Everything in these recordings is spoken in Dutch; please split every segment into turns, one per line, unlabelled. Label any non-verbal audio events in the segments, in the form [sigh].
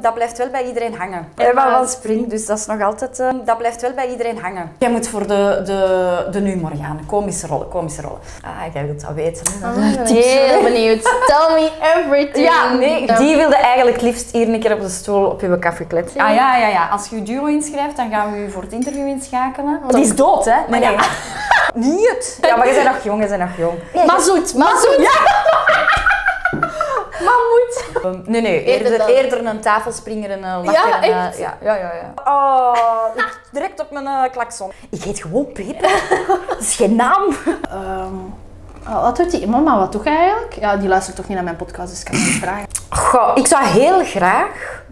Dat blijft wel bij iedereen hangen. maar-
En waarvan springt, dus dat is nog altijd... eh,
Dat blijft wel bij iedereen hangen.
Jij moet voor de, de, de nu Morgane. Komische rollen, komische rollen. Ah, jij wilt dat weten.
Heel [laughs] benieuwd. Tell me everything.
Ja, nee,
Dan-
die wilde eigenlijk liefst hier een keer op de stoel op uw café kletsen.
Ah ja, ja, ja. Als je je duo inschrijft, dan gaan we je voor het interview inschakelen.
Die is dood, hè?
Maar ja.
Ah, [laughs] Niet. Ja, maar je bent nog jong, je bent nog jong.
Mazoet, mazoet. [laughs]
Um, nee, nee,
Eerder
eerder,
dan.
eerder een tafelspringer en een lakker.
Ja,
en, eh,
echt?
ja, ja, ja, ja. Oh, ik- direct op mijn eh, klakson. Ik heet gewoon Peper. [laughs] Dat is geen naam.
Ehm, ah, wat doet die mama? Wat doe jij eigenlijk? Ja, die luistert toch niet naar mijn podcast, dus ik kan het niet vragen.
Goh, ik zou heel graag...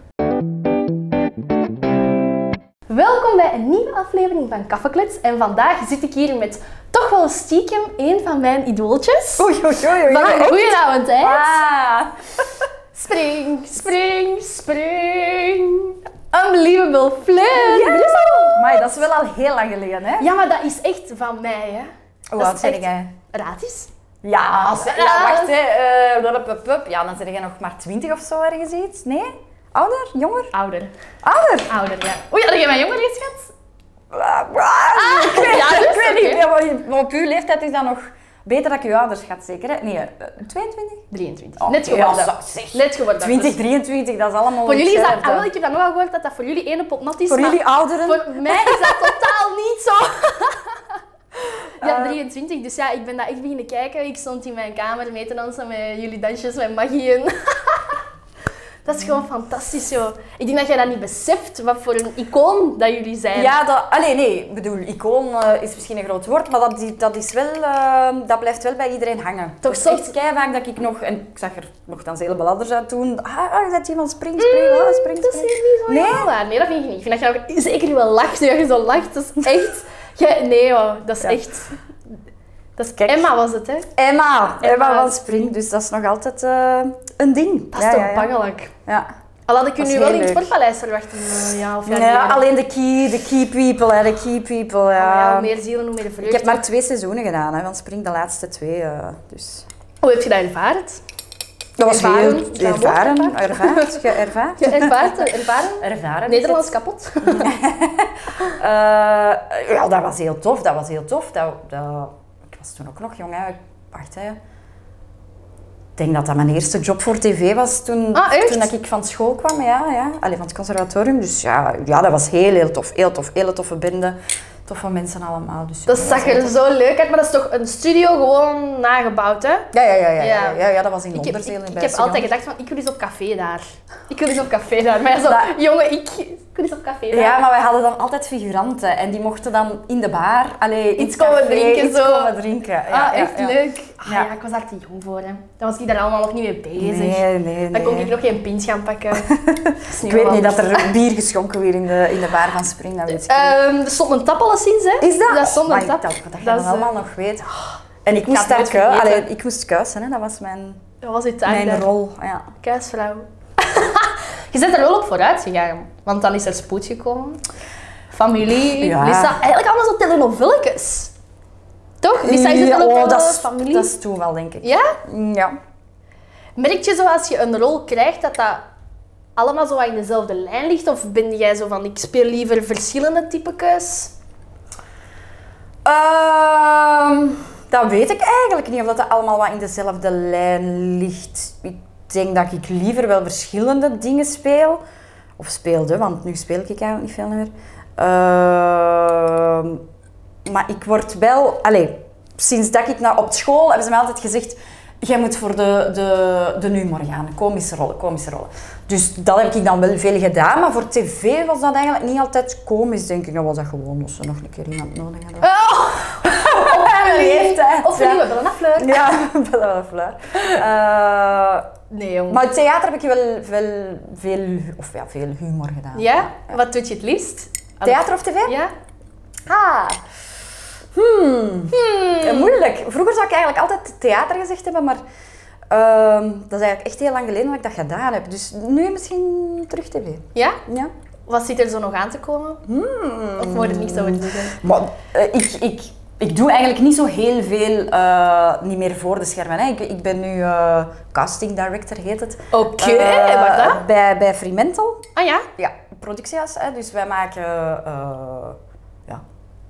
[laughs] Welkom bij een nieuwe aflevering van Kaffeklets. En vandaag zit ik hier met toch wel stiekem een van mijn idooltjes.
Oei, oei, oei, oei.
Van een goedenavond, hè?
Ah.
Spring, spring, spring. Unbelievable Flirt.
Ja.
Er is al-
Maar dat is wel al heel lang geleden, hè?
Ja, maar dat is echt van mij, hè?
Hoe
Dat
oud
is
ben
echt-
jij? Ah.
Raad eens.
Ja, als- ja, wacht hè. Eh, dat- pup, pup. Ja, dan zijn jij nog maar 20 of zo ergens iets. Nee? Ouder? Jonger?
Ouder.
Ouder?
Ouder, ja. Oei, had jij mijn jonger eens gehad?
Ah, ah, ik weet,
ja, dat
ik
is
weet
oké.
niet. Ja, maar maar op uw leeftijd is dat nog beter dat ik je ouders gaat, zeker? Hè? Nee, eh, 22?
23.
Oh,
Net
ja,
geworden.
zo, zeg.
Net geworden.
20, 23, dat is allemaal
Voor jullie is dat...
hetzelfde.
Ah, wel, ik heb dat nogal gehoord dat dat voor jullie ene pot nat is.
Voor
maar
jullie ouderen?
Voor mij is dat totaal [laughs] niet zo.
[laughs] Eh.
Ja, 23, dus ja, ik ben dat echt beginnen kijken. Ik stond in mijn kamer mee te dansen met jullie dansjes, met Maggie en... [laughs] Dat is gewoon fantastisch, joh. Ik denk dat jij dat niet beseft, wat voor een icoon dat jullie zijn.
Ja, dat, allee, nee, ik bedoel, icoon eh, is misschien een groot woord, maar dat, die- dat, is wel, eh, dat blijft wel bij iedereen hangen. dat
Toch
is
zot.
echt kei vaak dat ik nog, en ik zag er nog dan hele beladders uit doen. Ah, ah, je zet iemand spring, spring, ah, spring,
Mm, Dat is
spring.
hier niet zo
Nee.
heel waar. Nee, dat vind ik niet. Ik vind dat je ook zeker wel lacht, nu dat je zo lacht. Dat is echt... Jij- nee, hoor. Dat is
Ja.
echt... Dat is...
Kijk.
Emma was het, hè?
Emma,
Emma.
Emma van Spring, dus dat is nog altijd eh, een ding.
Dat is toch bangelijk.
Ja.
Al had ik u
Dat is
nu wel
heel
in het
leuk.
sportpaleis verwacht, een eh, jaar of jaar
Nee,
geleden.
alleen de key, de key people, hè, de key people,
Maar Oh ja,
ja.
hoe meer zielen, hoe meer vreugde.
ik heb maar twee seizoenen gedaan, hè, van Spring de laatste twee, eh, dus...
Hoe heb je dat ervaard?
Dat
was Ervaren? heel- Is dat een woord,
ervaren, ervaard,
[laughs]
geërvaard.
Je ervaart,
[laughs]
ervaren?
Ervaren.
Nederlands kapot?
Eh, ja, dat was heel tof. Dat was heel tof. Dat, dat, ik was toen ook nog jong. Hè. Ik- Wacht, hè. Ik denk dat dat mijn eerste job voor tv was toen,
Ah, echt?
toen dat ik van school kwam. Ja, ja. Allee, van het conservatorium. Dus ja, ja, dat was heel, heel tof. Heel tof. Hele toffe bende. Toffe mensen allemaal. Dus,
Dat
ja,
zag
was
er
heel tof.
zo leuk uit, maar dat is toch een studio gewoon nagebouwd, hè?
Ja, ja, ja, ja, ja,
Ja.
ja, ja, dat was in
Ik heb, ik,
Londerzeel. in
ik heb
Bijsterjonk.
altijd gedacht van, ik wil eens op café daar. Ik wil eens op café daar. Maar ja, zo, jongen, ik, ik wil eens op café daar.
Ja, maar wij hadden dan altijd figuranten. En die mochten dan in de bar... Allee, in
Iets
het café,
komen drinken,
Iets
zo.
komen drinken. Ja,
ah,
ja,
echt
ja.
leuk. Ah, ja.
Ja.
ik was daar te jong voor, hè. Dan was ik daar allemaal nog niet mee bezig.
Nee, nee,
Dan kon
nee.
ik nog geen pint gaan
[laughs]
pakken. Dat is nu
Ik weet
wel
niet
anders.
dat er bier geschonken weer in de, in de bar van Spring, dat weet ik niet.
Ehm, er stond een tap alleszins, hè?
Is dat?
Dat stond
Maar
een
ik
tap.
dacht Dat, je
Dat
dat
is, eh,
allemaal nog weet. Ah. En ik moest
het nooit
daar kui-
vergeten.
allee, ik moest kuisen, hè. dat was mijn,
Dat was uw taak daar.
mijn rol. Ja.
Kuisvrouw. [laughs] je bent er wel op vooruit gegaan, want dan is er spoed gekomen. Familie,
Ja.
Lisa. Eigenlijk allemaal zo telenovelletjes. Toch? Lisa is het
Ja,
wel ook
oh,
wel
dat is,
familie.
dat is toen wel, denk ik.
Ja?
Ja.
Merk je zo als je een rol krijgt dat dat allemaal zo wat in dezelfde lijn ligt? Of ben jij zo van, ik speel liever verschillende typekes?
Ehm, dat weet ik eigenlijk niet, of dat dat allemaal wat in dezelfde lijn ligt. Ik denk dat ik liever wel verschillende dingen speel. Of speelde, want nu speel ik eigenlijk niet veel meer. Ehm, maar ik word wel... Allee, sinds dat ik nou op school hebben ze mij altijd gezegd... Jij moet voor de, de, de nu Morgane, komische rollen, komische rollen. Dus dat heb ik dan wel veel gedaan, maar voor tv was dat eigenlijk niet altijd komisch, denk ik. Dan was dat gewoon dat ze nog een keer iemand nodig hadden. Oh,
Of
leeftijd,
Of
ja.
nieuwe wel een afleur?
Ja, [laughs] dat wel flauw. Eh,
Nee, jongen.
maar theater heb ik wel, wel veel, of ja, veel humor gedaan.
Ja? Wat doet je het liefst?
Theater of tv?
Ja?
Ah. Hmm. Eh, Moeilijk. Vroeger zou ik eigenlijk altijd theater gezegd hebben, maar ehm, dat is eigenlijk echt heel lang geleden dat ik dat gedaan heb. Dus nu misschien terug tv.
Ja?
Ja. Hmm.
Wat zit er zo nog aan te komen? Of moet je het niet zo over zeggen?
Maar eh, ik, ik Ik doe eigenlijk niet zo heel veel, eh, niet meer voor de schermen. Hè. Ik, ik ben nu eh, casting director, heet het.
Oké,
Eh,
waar dan?
Bij, bij Fremantle.
Ah ja?
Ja, productiehuis. Hè. Dus wij maken eh, ja,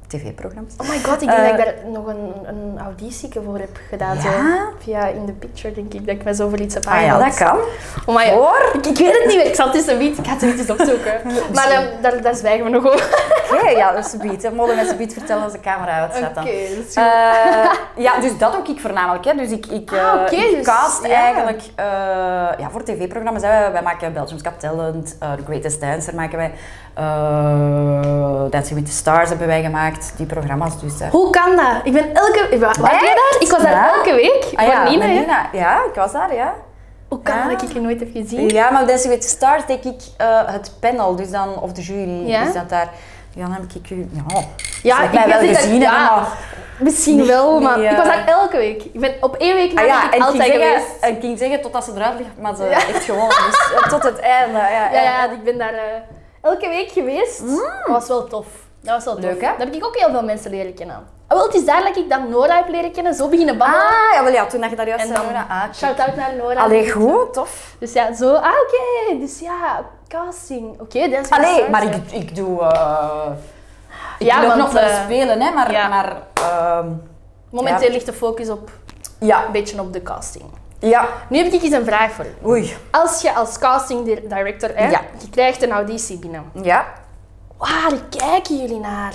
tv-programma's.
Oh my god, ik denk
Eh,
dat ik daar nog een, een auditie voor heb gedaan. zo.
Ja?
Via In The Picture, denk ik, dat ik mij zo voor iets heb
Ah ja,
aangemeld.
dat kan.
Oh my
Hoor.
Ik, ik weet het niet meer. Ik zal het eens een beetje- ik ga het een beetje
[laughs]
eens opzoeken. maar ehm, daar, daar zwijgen we nog over.
Oké, ja, dat is beat. Dan mogen mensen beat vertellen als de camera uit staat dan.
Oké, dat is goed.
Eh, ja, dus dat ook ik voornamelijk. Hè. Dus ik, ik, eh,
Ah, oké,
ik
dus-
cast
ja.
eigenlijk eh, ja, voor tv-programma's. hè. Wij maken Belgium's Got Talent, eh, The Greatest Dancer maken wij. eh Dancing with the Stars hebben wij gemaakt, die programma's dus. hè.
Hoe kan dat? Ik ben elke... Wa- Waar ben je
Echt?
daar? Ik was daar
Ja.
elke week.
Ah ja,
voor Nina,
met
hè?
Nina. Ah. Ja, ik was daar, ja.
Hoe kan
Ja.
dat dat ik je nooit heb gezien?
Ja, maar Dancing with the Stars denk ik eh, het panel, dus dan, of de jury,
Ja?
dus dat daar... Ja, dan heb ik u... Ja, ze
Ja,
heeft
ik
mij
weet
wel
niet dat-
gezien,
ja.
hebben, maar...
Misschien
Niet-
wel, maar
niet, eh.
ik was daar elke week. Ik ben op één week na
Ah
ben
ja,
ik
en ik
altijd
ging
geweest.
zeggen, en ik ging zeggen totdat ze eruit ligt, maar ze heeft gewonnen. Dus eh, tot het einde. Ja, ja.
Ja, ja, ik ben daar eh, elke week geweest. Dat was wel tof. Dat was wel tof.
Leuk, hè?
Daar heb ik ook heel veel mensen leren kennen. Ah, wel, het is daar dat ik dan Nora heb leren kennen, zo beginnen babbelen.
Ah, ja, wel ja, toen dat je daar juist
en
zei,
dan
Nora, ah, check.
shout-out naar Nora.
Allee, goed, tof.
Dus ja, zo. Ah, oké. Dus ja, casting. Oké, dat is wel
Allee,
stars,
maar
hè.
ik, ik doe... eh, ik
Ja,
wil ook
want,
nog wel
eh,
spelen, hè, maar...
ja.
maar ehm,
Momenteel
Ja.
ligt de focus op,
ja,
een beetje op de casting.
ja,
Nu heb ik eens een vraag voor u.
oei.
Als je als casting di- director, hè,
Ja.
je krijgt een auditie binnen.
Ja.
Waar kijken jullie naar?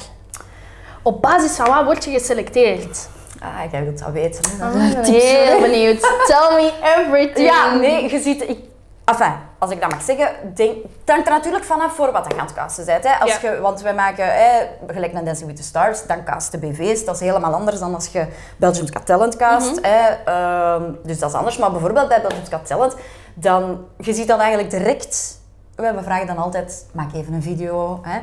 Op basis van wat word je geselecteerd?
Ah, jij wilt dat weten. hè.
Ik ben heel benieuwd. Tell me [laughs] everything.
Ja, nee, je ziet... Ik, enfin, als ik dat mag zeggen, denk, het hangt er natuurlijk vanaf voor wat je aan het casten bent. Hè. Als
Ja.
je, want wij maken, hè, gelijk met Dancing with the Stars, dan casten BV's. Dat is helemaal anders dan als je Belgium's Got Talent cast.
Mhm.
hè. Ehm, dus dat is anders. Maar bijvoorbeeld bij Belgium's Got Talent, dan, je ziet dat eigenlijk direct... We we vragen dan altijd, maak even een video, hè,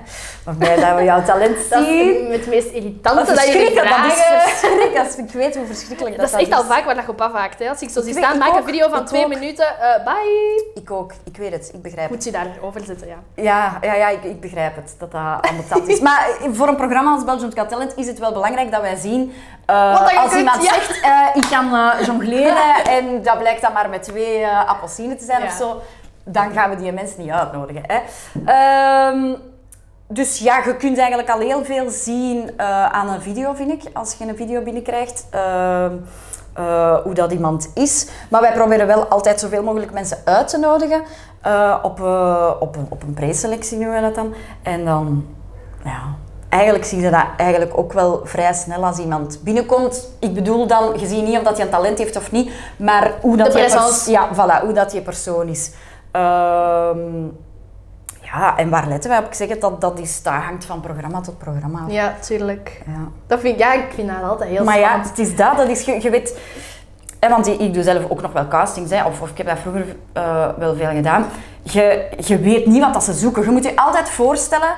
waarbij dat we jouw talent
[laughs] Dat
zien.
is het meest irritante
Dat is
dat jullie
verschrikkelijk, dat is
vragen.
verschrikkelijk. Dat is- Ik weet hoe verschrikkelijk dat,
Dat is echt
dat
al vaak waar dat je op afhaakt. Hè. Als ik zo zie
Ik weet-
staan,
ik
maak een
ook,
video van
ik
twee
ook.
minuten. eh, bye.
Ik ook, ik weet het, ik begrijp het.
Moet je daarover zitten, ja.
Ja, ja, ja ik, ik begrijp het, dat dat ambetant is. Maar eh, voor een programma als Belgium Got Talent is het wel belangrijk dat wij zien... eh,
Wat dat je
als
kunt,
iemand
ja.
zegt, eh, ik kan eh,
[laughs]
jongleren en dat blijkt dan maar met twee eh, appelsinen te zijn
Ja.
of zo, dan gaan we die mensen niet uitnodigen. Hè. Ehm, dus ja, je kunt eigenlijk al heel veel zien eh, aan een video, vind ik, als je een video binnenkrijgt. Ehm, eh, hoe dat iemand is. Maar wij proberen wel altijd zoveel mogelijk mensen uit te nodigen eh, op, eh, op, een, op een preselectie noemen we dat dan. En dan, ja, eigenlijk zie je dat eigenlijk ook wel vrij snel als iemand binnenkomt. Ik bedoel dan, je ziet niet of dat hij een talent heeft of niet, maar hoe dat,
De
die, pers-
presence.
ja, voilà, hoe dat die persoon is. Ehm, ja, en waar letten wij op? Ik zeg het, dat, dat, is, dat hangt van programma tot programma. af.
Ja, tuurlijk.
Ja.
Dat vind, ik- ja, ik vind dat altijd heel
Maar ja,
spannend.
het is dat, dat is, je, je weet... hè, want ik- ik doe zelf ook nog wel castings, hè, of, of ik heb dat vroeger eh, wel veel gedaan. Je, je weet niet wat dat ze zoeken. Je moet je altijd voorstellen,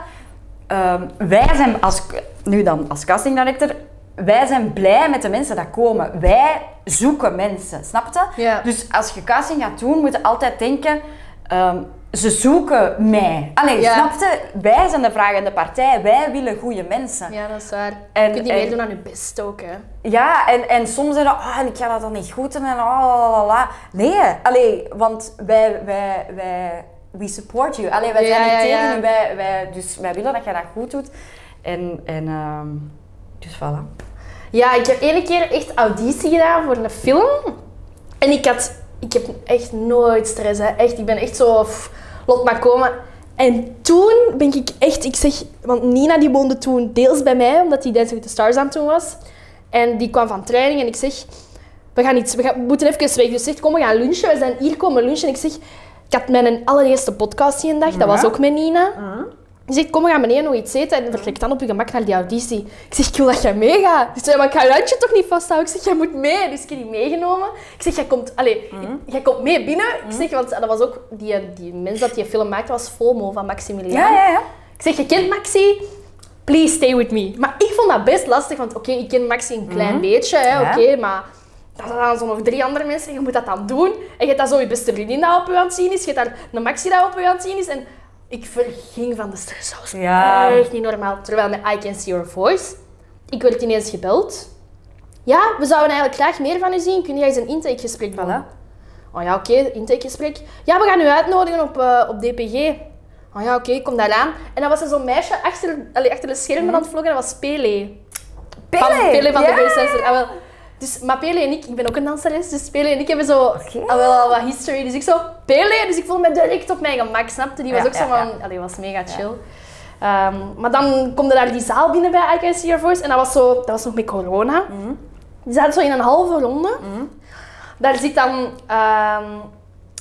ehm, wij zijn als, nu dan als casting director, wij zijn blij met de mensen die komen. Wij zoeken mensen, snap je?
Ja.
Dus als je casting gaat doen, moet je altijd denken, ehm, ze zoeken mij. Allee,
Ja.
snap je? Wij zijn de vragende partij, wij willen goede mensen.
Ja, dat is waar.
En-
je kunt niet
en-
meer doen aan je best ook, hè.
Ja, en, en soms zijn dat, ah, en ik ga dat dan niet goed doen en ah, la, la, la. Nee, allee, want wij, wij, wij, we support you. Allee, wij
Ja,
zijn niet
ja,
tegen
ja.
u, wij, wij, dus wij willen dat jij dat goed doet. En, en ehm, dus voilà.
Ja, ik heb ene keer echt auditie gedaan voor een film. En ik had... Ik heb echt nooit stress, hè. Echt, ik ben echt zo... pff, Lot maar komen. En toen ben ik echt... Ik zeg... Want Nina die woonde toen deels bij mij, omdat die Dancing with the Stars aan het doen was. En die kwam van training en ik zeg... We gaan iets... We, gaan, we moeten even weg. Dus ze zegt, kom, we gaan lunchen. We zijn hier komen lunchen. En ik zeg... Ik had mijn allereerste podcast die een dag. Dat was ook met Nina. Die zegt, kom, we gaan beneden nog iets eten en vertrek dan op je gemak naar die auditie. Ik zeg, ik wil dat jij meegaat. Die zegt, maar ik ga je handje toch niet vasthouden. Ik zeg, jij moet mee. Dus ik heb die meegenomen. Ik zeg, jij komt, allee,
Mm.
jij komt mee binnen. Ik zeg, want ah, dat was ook, die, die mens dat die film maakte was FOMO van Maximilian.
Ja, ja, ja.
Ik zeg, je kent Maxi? Please stay with me. Maar ik vond dat best lastig, want oké, ik ken Maxi een klein beetje, hè,
Mhm. Ja.
oké, maar dat zijn dan zo nog drie andere mensen en je moet dat dan doen. En je hebt dan zo je beste vriendin dat op je aan het zien is, je hebt daar een Maxi dat op je aan het zien is. En ik verging van de stress, dat was
Ja.
echt niet normaal. Terwijl met I Can See Your Voice Ik werd ineens gebeld. Ja, we zouden eigenlijk graag meer van u zien. Kun jij eens een intakegesprek doen?
Voilà.
Oh ja, oké, intakegesprek. Ja, we gaan u uitnodigen op, eh, op DPG. Oh ja, oké, ik kom daaraan. En dan was er zo'n meisje achter, allee, achter de schermen aan het vloggen. Dat was Pele. Van Pele van
ja.
de Bassdancer. Ah, wel. Dus, maar Pele en ik, ik ben ook een danseres, dus Pele en ik hebben zo al wel al wat history. Dus ik zo, Pele, dus ik voel me direct op mijn gemak, snapte? Die was
Ja,
ook zo
ja,
van, allee, was mega chill. Ehm, maar dan komt er daar die zaal binnen bij I Can See Your Voice en dat was, zo, dat was nog met corona.
Mhm.
Die zaten zo in een halve ronde. Daar zit dan ehm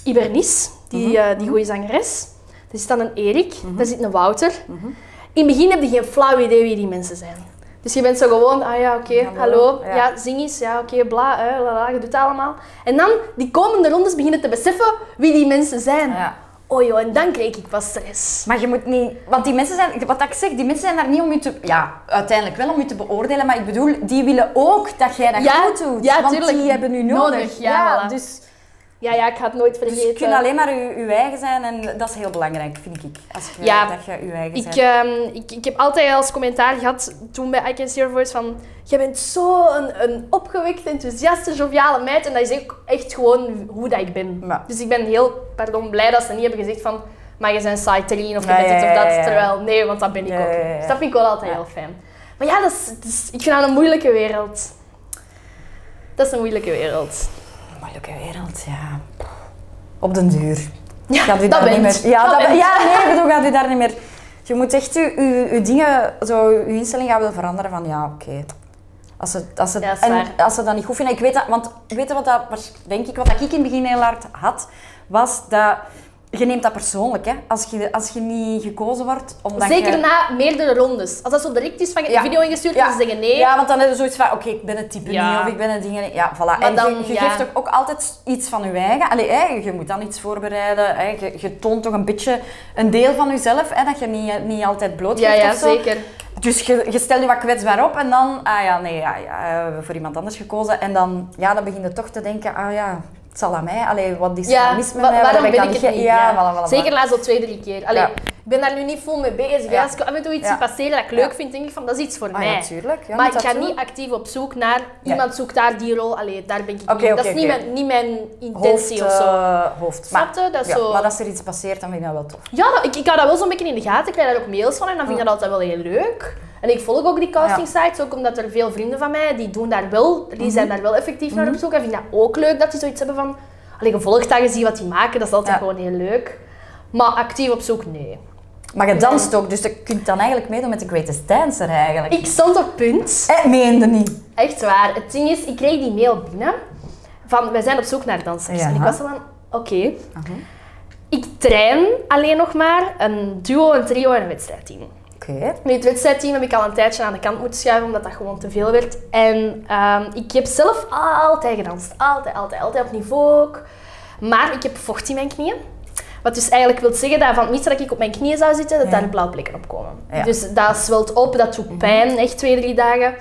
Ibernis, die,
Mhm.
eh, die goede zangeres. Daar zit dan een Erik, daar zit een Wouter.
Mhm.
In het begin heb je geen flauw idee wie die mensen zijn. Dus je bent zo gewoon, ah ja, oké,
Hallo,
hallo,
ja.
ja. zing eens, ja, oké, bla, eh, la, la, je doet dat allemaal. En dan, die komende rondes beginnen te beseffen wie die mensen zijn.
Ja.
Oh joh, en dan kreeg ik pas stress.
Maar je moet niet, want die mensen zijn, wat ik zeg, die mensen zijn daar niet om je te, ja, uiteindelijk wel om je te beoordelen, maar ik bedoel, die willen ook dat jij dat
Ja,
goed doet.
ja,
want
tuurlijk.
die hebben nu nodig.
Nodig, ja, voilà.
dus,
Ja, ja, ik ga het nooit
dus je
vergeten.
kunt alleen maar je, je eigen zijn en dat is heel belangrijk, vind ik. Als je,
Ja.
dat je je eigen
Ik,
bent.
ehm, ik, ik heb altijd als commentaar gehad toen bij I Can See Your Voice van... Jij bent zo'n een opgewekte, enthousiaste, joviale meid. En dat is ook echt gewoon hoe dat ik ben.
Ja.
Dus ik ben heel pardon, blij dat ze niet hebben gezegd van... Maar je bent saai terrien of je
Ja,
bent
ja,
dit of
ja,
dat.
ja, ja.
Terwijl, nee, want dat ben ik
Ja,
ook
ja,
niet.
ja, ja.
Dus dat vind ik wel altijd
Ja.
heel fijn. Maar ja, dat is, het is- ik vind dat een moeilijke wereld. Dat is een moeilijke wereld.
Moeilijke wereld, ja. Op den duur.
Ja,
Gaat u
dat
daar niet
bent.
meer... Ja,
Dat
dat
bent.
ben- ja, nee, ik bedoel, gaat u daar niet meer... Je moet echt je, je, je dingen, zo, je instelling gaan wel veranderen van ja, oké. Als ze, als, ze,
Ja, dat is
en
waar.
als ze dat niet goed vinden, ik weet dat, want weet je wat dat, waars- denk ik, wat dat ik in het begin heel hard had, was dat, je neemt dat persoonlijk, hè. Als je, als je niet gekozen wordt, omdat
Zeker
je...
na meerdere rondes. Als dat zo direct is van je hebt
Ja.
een video ingestuurd en ze zeggen nee.
Ja, want dan heb je zoiets van, oké, ik ben het type
Ja.
niet of ik ben het ding niet. Ja, voilà. en
dan,
je, je
ja.
geeft toch ook altijd iets van je eigen. Allee, hè, je moet dan iets voorbereiden. Hè, je, je toont toch een beetje een deel van jezelf, hè, dat je niet, niet altijd blootgeeft
ja, ja
of zo.
zeker.
Dus je, je stelt je wat kwetsbaar op en dan, ah ja, nee, ja, ja, we hebben voor iemand anders gekozen. En dan, ja, dan begin je toch te denken, ah ja, het zal aan mij. Allee, wat is er mis met
wa-
mij? Waar
waarom
ben ik aan
het
ge-
niet?
Ja,
Ja.
voilà, voilà, voilà.
Zeker na zo'n twee, drie keer. Allee,
Ja.
Ik ben daar nu niet vol mee bezig. Ja,
Ja.
als ik af en toe iets
Ja.
zie passeren dat ik
Ja.
leuk vind, denk ik van dat is iets voor
Ah, ja,
mij.
tuurlijk. Ja,
maar
moet
ik
dat
ga
doen.
niet actief op zoek naar
Nee.
iemand zoekt daar die rol. Allee, daar ben ik
Oké,
niet. dat
oké,
is niet,
oké.
mijn, niet mijn intentie
hoofd,
of zo.
eh, hoofd. Maar,
Snap je? Dat is
ja,
zo-
maar als er iets passeert, dan vind ik dat wel tof.
Ja, dat- ik, ik hou dat wel zo'n beetje in de gaten. Ik krijg daar ook mails van en dan vind ik dat altijd wel heel leuk. En ik volg ook die casting sites, ook omdat er veel vrienden van mij, die doen daar wel, die zijn
Mhm.
daar wel effectief naar op zoek. En vind ik dat ook leuk dat die zoiets hebben van, allee, gevolgd dat je ziet wat die maken, dat is altijd
Ja.
gewoon heel leuk. Maar actief op zoek, nee.
Maar je danst ook, dus je kunt dan eigenlijk meedoen met de Greatest Dancer eigenlijk.
Ik stond op punt,
Eh, meende niet.
echt waar. Het ding is, ik kreeg die mail binnen van, wij zijn op zoek naar dansers.
Ja.
En ik was zo van, oké. Ik train alleen nog maar een duo, een trio en een wedstrijdteam.
Oké.
Nu, het wedstrijdteam heb ik al een tijdje aan de kant moeten schuiven, omdat dat gewoon te veel werd. En ehm, ik heb zelf altijd gedanst. Altijd, altijd, altijd op niveau ook. Maar ik heb vocht in mijn knieën. Wat dus eigenlijk wil zeggen dat van het minste dat ik op mijn knieën zou zitten, dat daar blauwplekken op komen.
Ja. Mhm.
Dus dat zwelt op, dat doet pijn, echt twee, drie dagen.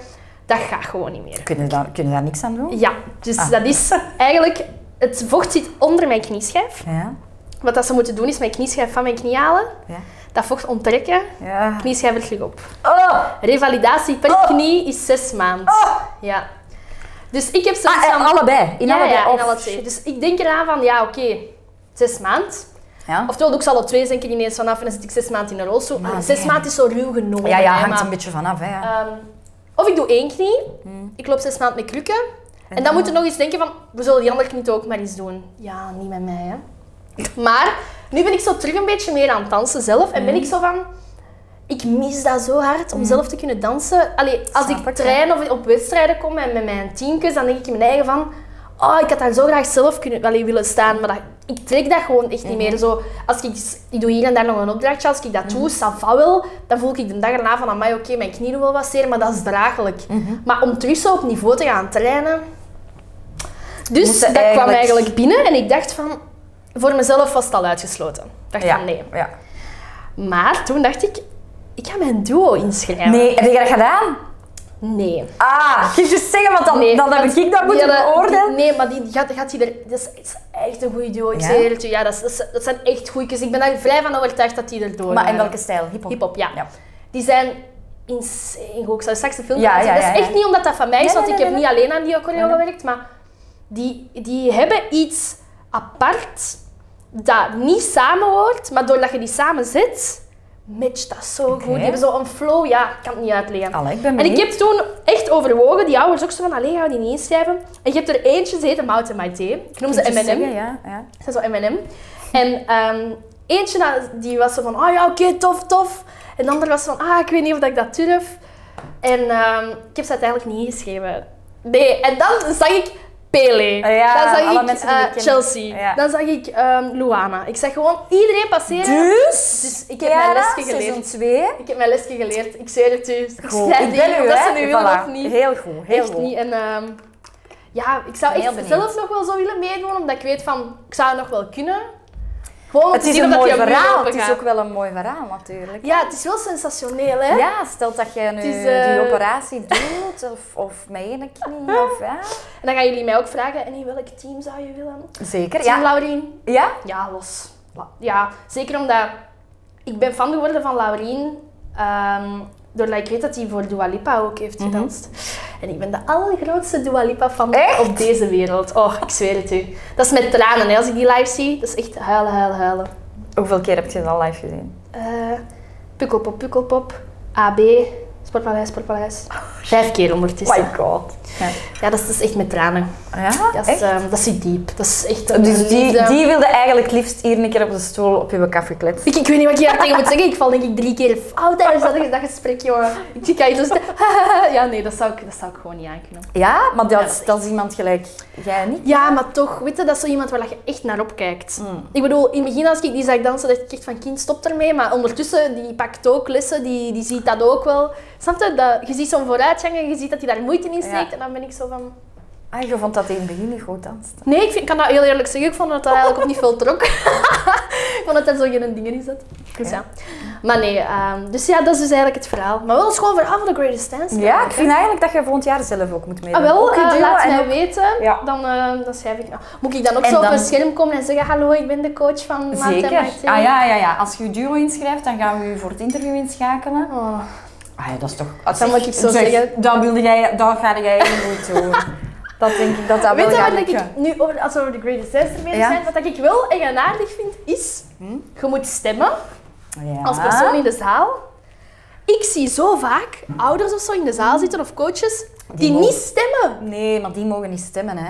Dat gaat gewoon niet meer.
Kunnen daar, kun je daar niks aan doen?
Ja, dus
Ah.
dat is eigenlijk... Het vocht zit onder mijn knieschijf.
Ja.
Wat dat ze moeten doen, is mijn knieschijf van mijn knie halen,
Ja.
dat vocht onttrekken,
Ja.
knieschijf er terug op.
Oh!
Revalidatie per
Oh.
knie is zes maanden. Ja. Dus ik heb zoiets
Ah, en
van...
allebei. In
ja,
allebei.
ja, in
of-
alle twee. Dus ik denk eraan van, ja, oké, zes maanden.
Ja.
Oftewel doe ik ze alle twee, denk ik er ineens vanaf en dan zit ik zes maanden in een rolstoel.
Maar
Allee, zes
nee.
maanden is zo ruw genomen.
ja, ja,
hè,
hangt
maar,
een beetje Hmm. vanaf. Hè, ja.
ehm, of ik doe één knie, ik loop zes maanden met krukken. En dan moet je nog eens denken van, we zullen die andere knie toch ook maar eens doen. Ja, niet met mij, hè. [laughs] Maar nu ben ik zo terug een beetje meer aan het dansen zelf. En
Hmm.
ben ik zo van... Ik mis dat zo hard om zelf te kunnen dansen. Allee, als
Snap
ik,
ik,
train of op wedstrijden kom en met mijn teamkes, dan denk ik in mijn eigen van... Oh, ik had daar zo graag zelf kunnen, allee, willen staan, maar dat, ik trek dat gewoon echt
Mhm.
niet meer. Zo, als ik, ik doe hier en daar nog een opdrachtje, als ik dat
Mhm.
doe, ça va wel, dan voel ik de dag erna van, amai, oké, mijn knie doet wel wat zeer, maar dat is draaglijk.
Mhm.
Maar om terug zo op niveau te gaan trainen... Dus
Moest je
dat kwam
eigenlijk-
eigenlijk binnen en ik dacht van... Voor mezelf was het al uitgesloten. Ik dacht
ja.
van Eh, nee.
Ja.
Maar toen dacht ik, ik ga mijn duo inschrijven.
Nee, heb je dat gedaan?
Nee.
Ah, je just zeggen, want dan,
Nee,
dan heb
want
ik dat
die
moeten
hadden-
beoordelen.
die- nee, maar die gaat, gaat die er... Dat is, dat is echt een goede duo, ik
Ja?
zweer het je. Ja, dat, is- dat, is- dat zijn echt goeie. Ik ben daar vrij van overtuigd dat die er door
Maar in
waren.
welke stijl? Hip-hop?
Hip-hop, ja.
Ja.
Die zijn insane goed. Ik zou straks de film
Ja,
laten zien.
ja,
Dat
ja,
is
ja.
echt niet omdat dat van mij is,
Nee,
want
nee,
ik heb
nee,
niet alleen aan die choreo gewerkt, maar die, die hebben iets apart dat niet samenhoort, maar doordat je die samen zet, matcht dat zo goed. Die hebben zo'n flow, ja, ik kan het niet uitleggen.
Allee, ik ben
en ik
benieuwd.
heb toen echt overwogen, die ouders ook zo van, alleen gaan we die niet inschrijven. En je hebt er eentje zitten, Mountain Maite. Ik noem ze
Moet je
M&M.
zeggen, Ja, ja.
Ze is zo M&M. En ehm, eentje na- die was zo van, ah ja, oké, tof, tof. En de andere was van, ah, ik weet niet of dat ik dat durf. En ehm, ik heb ze uiteindelijk niet geschreven. Nee, en dan zag ik Pele.
Ah ja,
dan zag
alle
ik
mensen die
eh,
ik ken.
Chelsea.
Ja.
Dan zag ik ehm, Luana. Ik zag gewoon iedereen passeren.
Dus,
Dus ik heb mijn
Chiara,
lesje geleerd.
seizoen 2.
Ik heb mijn lesje geleerd. Ik zweer het u. Ik
Goed.
schrijf
Ik ben
niet
u,
of dat
hè.
ze nu willen
Voilà.
of niet.
Heel goed, heel
echt
goed.
niet. En ehm, ja, ik zou
ben
echt
heel benieuwd.
zelf nog wel zo willen meedoen, omdat ik weet van, ik zou het nog wel kunnen. Gewoon om
Oh, Het
te
is
zien
een
of
mooi
dat die muur
verhaal.
open
Het is
gaat.
ook wel een mooi verhaal, natuurlijk.
Ja, het is wel sensationeel, hè?
Ja, stel dat jij nu
Het is, eh,
die operatie doet, of, of met ene [laughs] knie, of ja.
En dan gaan jullie mij ook vragen, en in welk team zou je willen?
Zeker, ja.
Team Laurien?
Ja?
Ja, los. La- Ja, zeker omdat ik ben fan geworden van Laurien. ehm, doordat ik weet dat hij voor Dua Lipa ook heeft
Mhm.
gedanst. En ik ben de allergrootste Dua Lipa fan
Echt?
op deze wereld. Oh, ik zweer het u. Dat is met tranen, hè, als ik die live zie. Dat is echt huilen, huilen, huilen.
Hoeveel keer heb je dat live gezien?
Eh, Pukkelpop, Pukkelpop, AB, Sportpaleis, Sportpaleis.
Oh,
Vijf keer ondertussen.
My god. Ja,
Ja, dat is, dat is echt met tranen. Dat is,
echt?
ehm, dat is diep. Dat is echt een
Dus die,
liefde.
die wilde eigenlijk liefst hier een keer op de stoel op je kaf gekletst.
Ik, ik weet niet wat ik hier tegen moet zeggen. Ik val denk ik drie keer fout tijdens dat, dat gesprek, jongen. Ik zie je zo zitten. [laughs] Ja, nee, dat zou, ik, dat zou ik gewoon niet aankunnen.
Ja, maar dat,
dat
is-
is
dat is iemand gelijk jij niet.
Ja, maar toch, weet je, dat is zo iemand waar je echt naar opkijkt. Ik bedoel, in het begin als ik die zag dansen, dacht ik echt van kind, stop ermee. Maar ondertussen, die pakt ook lessen, die, die ziet dat ook wel. Snap je? Dat, je ziet zo'n vooruitgang en je ziet dat hij daar moeite in steekt.
Ja.
En dan ben ik zo van...
Ah, je vond dat in het begin niet goed danst.
Nee, ik, vind, ik kan dat heel eerlijk zeggen. Ik vond dat dat eigenlijk op niet veel trok. [laughs] ik vond dat er zo geen dingen in zat. Dus ja. Maar nee, ehm, dus ja, dat is dus eigenlijk het verhaal. Maar wel een schoon verhaal van de Greatest Dance.
Ja, ik vind eigenlijk dat je volgend jaar zelf ook moet meedoen.
Ah, wel,
ook een
eh,
duo
laat
en
mij
ook-
weten.
Ja.
Dan, eh, dan schrijf ik. nou. Moet ik dan ook
En
zo op
dan-
een scherm komen en zeggen: Hallo, ik ben de coach van Maarten
Zeker.
Martin."
Ah ja, ja, ja. Als je je duo inschrijft, dan gaan we u voor het interview inschakelen.
Oh.
Ah ja, dat is toch...
Dan moet ik zo zeggen.
Dat wilde jij... Dat ga jij
[laughs]
niet doen. dat denk ik dat dat
Weet
wel
je
gaat
wat ik
lukken.
nu over, als we over de Greatest Dance bezig
Ja. Hm?
zijn? Wat ik wel eigenaardig vind is: je moet stemmen
Ja.
als persoon in de zaal. Ik zie zo vaak ouders of zo in de zaal zitten of coaches die,
mogen-
niet stemmen.
Nee, maar die mogen niet stemmen, hè.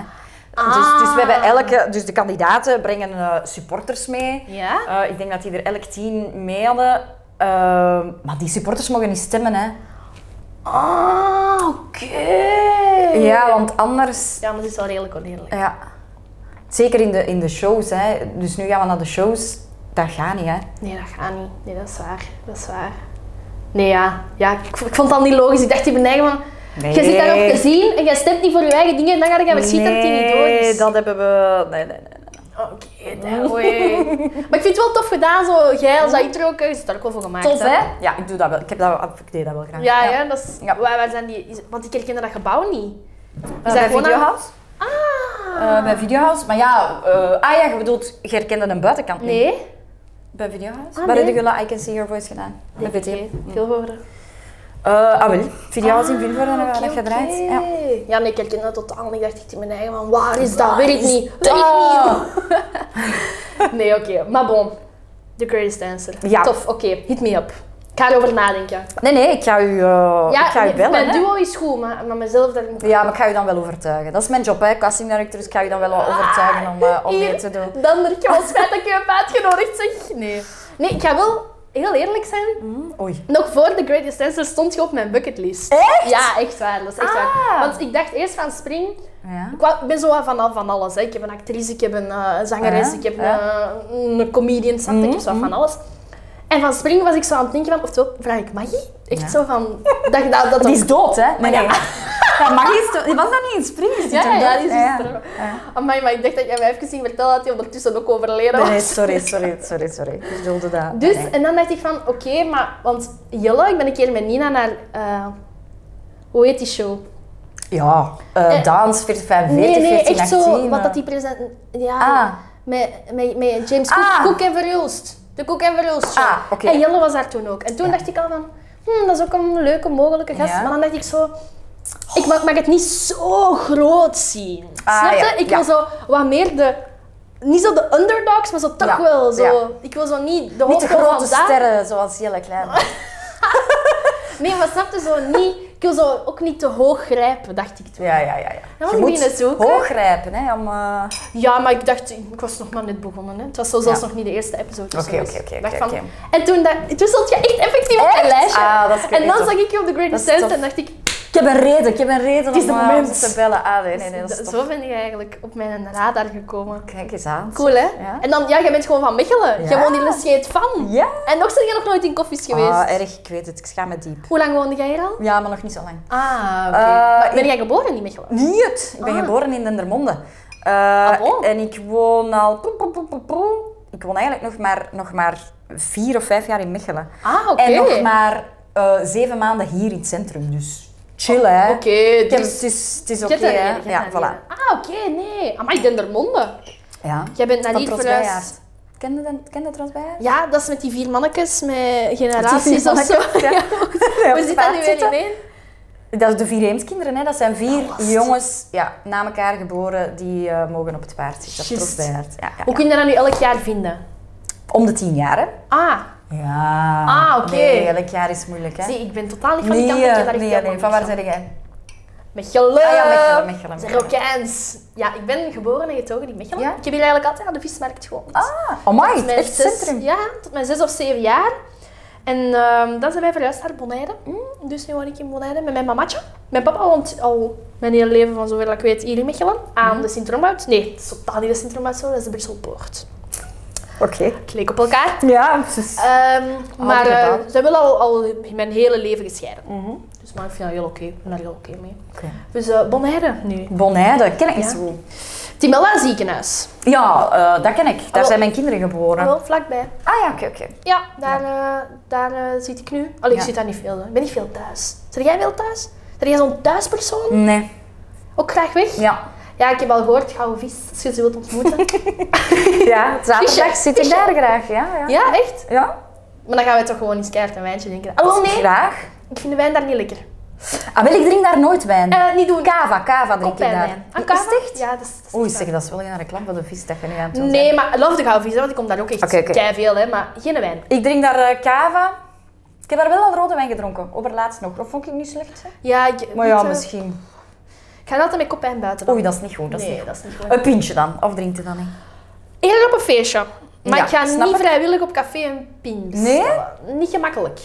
Ah.
Dus, dus, we hebben elke, dus de kandidaten brengen eh, supporters mee.
Ja?
Eh, ik denk dat die er elk tien mee hadden. Eh, maar die supporters mogen niet stemmen, hè.
Ah, oké.
Ja, want anders...
Ja, maar dat is wel redelijk oneerlijk.
Ja. Zeker in de, in de shows, hè. Dus nu gaan we naar de shows. Dat gaat niet, hè.
Nee, dat gaat niet. Nee, dat is waar. Dat is waar. Nee, ja. ja ik, ik vond het al niet logisch. Ik dacht in mijn eigen van...
Nee.
Je zit daarop te zien en jij stemt niet voor je eigen dingen en dan ga je verschieten dat die niet door
Nee,
is.
dat hebben we... Nee, nee, nee.
Oké, dan- oei. Maar ik vind het wel tof gedaan, zo. Jij als dat intro ook, eh, je zit daar ook wel voor gemaakt.
Tof, hè? Ja, ik doe dat wel. Ik, heb dat, wel- ik deed dat wel graag.
Ja, ja. dat is...
Ja.
Waar, waar zijn die... is- Want ik herkende dat gebouw niet.
Is Eh,
dat
bij
gewoon
Videohouse?
Ah.
Eh, bij Videohouse, maar ja, eh, ah ja, je bedoelt, je herkende een buitenkant niet.
nee?
Bij Videohouse?
Ah,
Waar
nee.
heb je La I Can See Your Voice gedaan? Bij VT.
Oké, Veel woorden.
Eh, ah wel, Videohouse in Vilvoorde
Ah,
hebben we
oké,
dat gedraaid.
oké.
Ja.
Ja, nee, ik herken dat totaal niet. Ik dacht echt in mijn eigen van, waar is Dus dat? Weet ik
is
niet. Weet ik
dat?
niet. [laughs] Nee, oké. Maar bon. The Greatest Dancer.
Ja.
Tof, oké. Hit me up. Ik ga erover nadenken.
Nee, nee, ik ga u, eh, Oh, ik ga u
nee,
bellen.
mijn
hè.
duo is goed, maar, maar mezelf daar moet ik
Ja, maar ik ga u dan wel overtuigen. Dat is mijn job, hè, casting director. Dus ik ga u dan wel overtuigen om, eh, om
Ah, Hier,
mee te doen.
Dan merk je wel spijt dat ik je heb uitgenodigd, zeg. Nee. Nee, ik ga wel heel eerlijk zijn.
Oei.
Nog voor The Greatest Dancer stond je op mijn bucketlist.
Echt?
Ja, echt waar. Dat is echt
Ah.
waar. Want ik dacht eerst van spring,
Ja.
Ik wou- ik ben zo wat van, al- van alles. Hè. Ik heb een actrice, ik heb een eh, zangeres,
Ja,
ik heb
ja. Mhm,
een, een comedian, snap je? ik heb zo wat van alles. En van spring was ik zo aan het denken van, oftewel, vraag ik Maggie? Echt zo van, dat, dat,
[laughs]
dat,
Die is dood, hè? Nee,
Ja.
nee. Ja, [laughs] mag je sto- was dat niet in Spring? Is die
Ja,
toch
ja, ja,
dood?
die is gestorven. Amai, maar ik dacht dat jij mij even ging vertellen dat hij ondertussen ook overleden
Nee,
was.
nee, sorry, sorry, sorry, sorry. Ik bedoelde dat.
[laughs] Dus,
Nee.
en dan dacht ik van, oké, maar... Want Jelle, ik ben een keer met Nina naar... eh, hoe heet die show?
Ja, eh dans 45,
nee, nee,
14,
echt zo,
18,
wat
eh.
dat die present... Ja,
Ah.
met, met, met James Cook,
Ah.
Cook en Verhulst. De Cook en Verhulst show.
Ah, oké.
En Jelle was daar toen ook. En toen dacht ik al van, hm, dat is ook een leuke mogelijke gast.
Ja.
Maar dan dacht ik zo, ik mag, mag het niet zo groot zien.
Ah,
Snap je?
ja,
Ik
ja.
wil zo wat meer de, niet zo de underdogs, maar zo toch
Ja,
wel zo.
ja.
Ik wil zo niet de
Niet de
hoofdrol van
grote
daar.
sterren zoals Jelle Klein.
[laughs] Nee, maar snap je zo niet, ik wil zo ook niet te hoog grijpen, dacht ik toen.
Ja, ja, ja. ja.
Dan moet je het zoeken.
hoog grijpen, hè, om... eh,
Ja, maar ik dacht, ik was nog maar net begonnen. Hè. Het was zo zelfs
Ja.
nog niet de eerste episode.
Oké, oké, oké,
Dacht
oké,
van-
oké.
En toen, dacht, toen stond je echt effectief op
Echt?
een lijstje.
Ah, dat is
en dan
tof.
zag ik je op The Great
Dat is
Descent
tof.
en dacht ik,
Ik heb een reden, ik heb een reden
Het is
om
de
eh,
moment.
om te bellen. Ah, nee, nee, nee, dat is
"D-
tof.
zo ben je eigenlijk op mijn radar gekomen.
Kijk eens aan.
Cool, hè?
Ja.
En dan, ja, jij bent gewoon van Mechelen.
Ja.
Jij woont hier een scheet van.
Ja.
En nog zijn jij nog nooit in koffies geweest.
Ah, erg, ik weet het. Ik schaam me diep.
Hoe lang woonde jij hier al?
Ja, maar nog niet zo lang.
Ah, oké.
Eh,
ben
ik-
jij geboren in Mechelen?
Niet. Ik ben
Ah.
geboren in Dendermonde. Eh,
bon?
En ik woon al... poe, poe, poe, poe, poe. Ik woon eigenlijk nog maar, nog maar vier of vijf jaar in Mechelen.
Ah, oké.
En nog maar eh, zeven maanden hier in het centrum, dus chill hè.
Oh, Oké,
Ik heb-
dus...
Het is, het is
je
oké
hebt daar
hè.
leren, je
Ja,
hebt daar
voilà.
leren. Ah, oké, nee. Amai, Dendermonde.
Ja.
Jij bent naar
Van
hier
Trots
verhuisd.
Beiaert. Ken je dat, ken je Trots Beiaert?
Ja, dat is met die vier mannetjes, met generaties of zo.
Ja.
[laughs] Ja.
Ja,
Hoe zit dat nu
paard zitten.
weer in?
Dat is de vier heemskinderen, hè. dat zijn
Ah,
vier jongens ja, na elkaar geboren die eh, mogen op het paard zitten. op
Just.
Trots Beiaert. Ja, ja, ja.
Hoe kun je dat nu elk jaar vinden?
Om de tien jaar, hè?
Ah,
Ja.
Ah, oké.
Nee, elk jaar is moeilijk, hè?
zie, ik ben totaal niet van die
nee,
kant. ik heb daar
eh,
echt
nee,
helemaal
nee. Van waar
niks
zijn jij?
Met geluk.
Ah ja, Mechelen, Mechelen, Mechelen.
Rokijns. Ja, ik ben geboren en getogen in Mechelen.
Ja?
Ik heb hier eigenlijk altijd aan de vismarkt gewoond.
Ah, amai,
Tot
het
mijn
echt
zes-
centrum.
Ja, tot mijn zes of zeven jaar. En ehm, dan zijn wij verhuisd naar Bonaire.
Mm.
Dus nu woon ik in Bonaire met mijn mamatje. Mijn papa woont al mijn hele leven, van zover dat ik weet, hier in Mechelen.
Mm.
Aan de Sint-Romout. Nee, het is totaal niet de Sint-Romout, zo, dat is de Brusselpoort.
Oké.
Het leek op elkaar.
Ja, precies.
Ehm, maar eh,
gebouw.
zij willen al, al mijn hele leven gescheiden.
Mhm.
Dus maar ik vind dat heel oké. Ik ben daar heel oké mee.
Oké.
Dus eh, Bonaire nu.
Bonaire, ken ik niet
Ja.
zo.
Timella ziekenhuis.
Ja, eh, dat ken ik. Daar
Oh.
zijn mijn kinderen geboren.
Wel vlakbij.
Ah ja, oké, oké.
Ja, daar, eh, daar eh, zit ik nu. Allee,
Ja.
ik zit daar niet veel. hè. Ik ben niet veel thuis. Zijn jij veel thuis? Ben jij zo'n thuispersoon?
Nee.
Ook graag weg?
Ja.
[laughs] Ja, ik heb al gehoord, gouden vis, als je ze wilt
[laughs]
ontmoeten. Ah,
Ja, zaterdag
Visje,
zit ik
visje.
daar graag, ja. Ja?
ja, echt?
ja?
Maar dan gaan we toch gewoon eens keihard een wijntje drinken. Oh nee,
Graag.
ik vind de wijn daar niet lekker.
Ah, wel, ik drink daar nooit wijn.
Eh, niet doen.
Cava, cava drink ik daar.
Kopijnwijn.
Is
Aan
het
Ah, kava?
echt?
Ja, dat is, dat is
Oei,
echt
zeg, dat is wel een reclame van de vis dat je nu aan het doen bent.
Nee, maar love de gouden vis, hè, want ik kom daar ook echt
Oké, oké.
keiveel, hè, maar geen wijn.
Ik drink daar eh, cava. Ik heb daar wel al rode wijn gedronken, overlaatst nog. Dat vond ik niet slecht. hè.
Ja, ik,
Maar ja,
weet, eh,
misschien.
Ik ga altijd met kop en buiten. dan.
Oei, dat is niet goed. Dat is
nee,
niet
dat is niet
goed.
goed.
Een pintje dan, of drinkt het dan niet?
Eerder op een feestje. Maar
Ja,
ik ga
snap
niet
ik.
vrijwillig op café een pin bestellen. Niet gemakkelijk.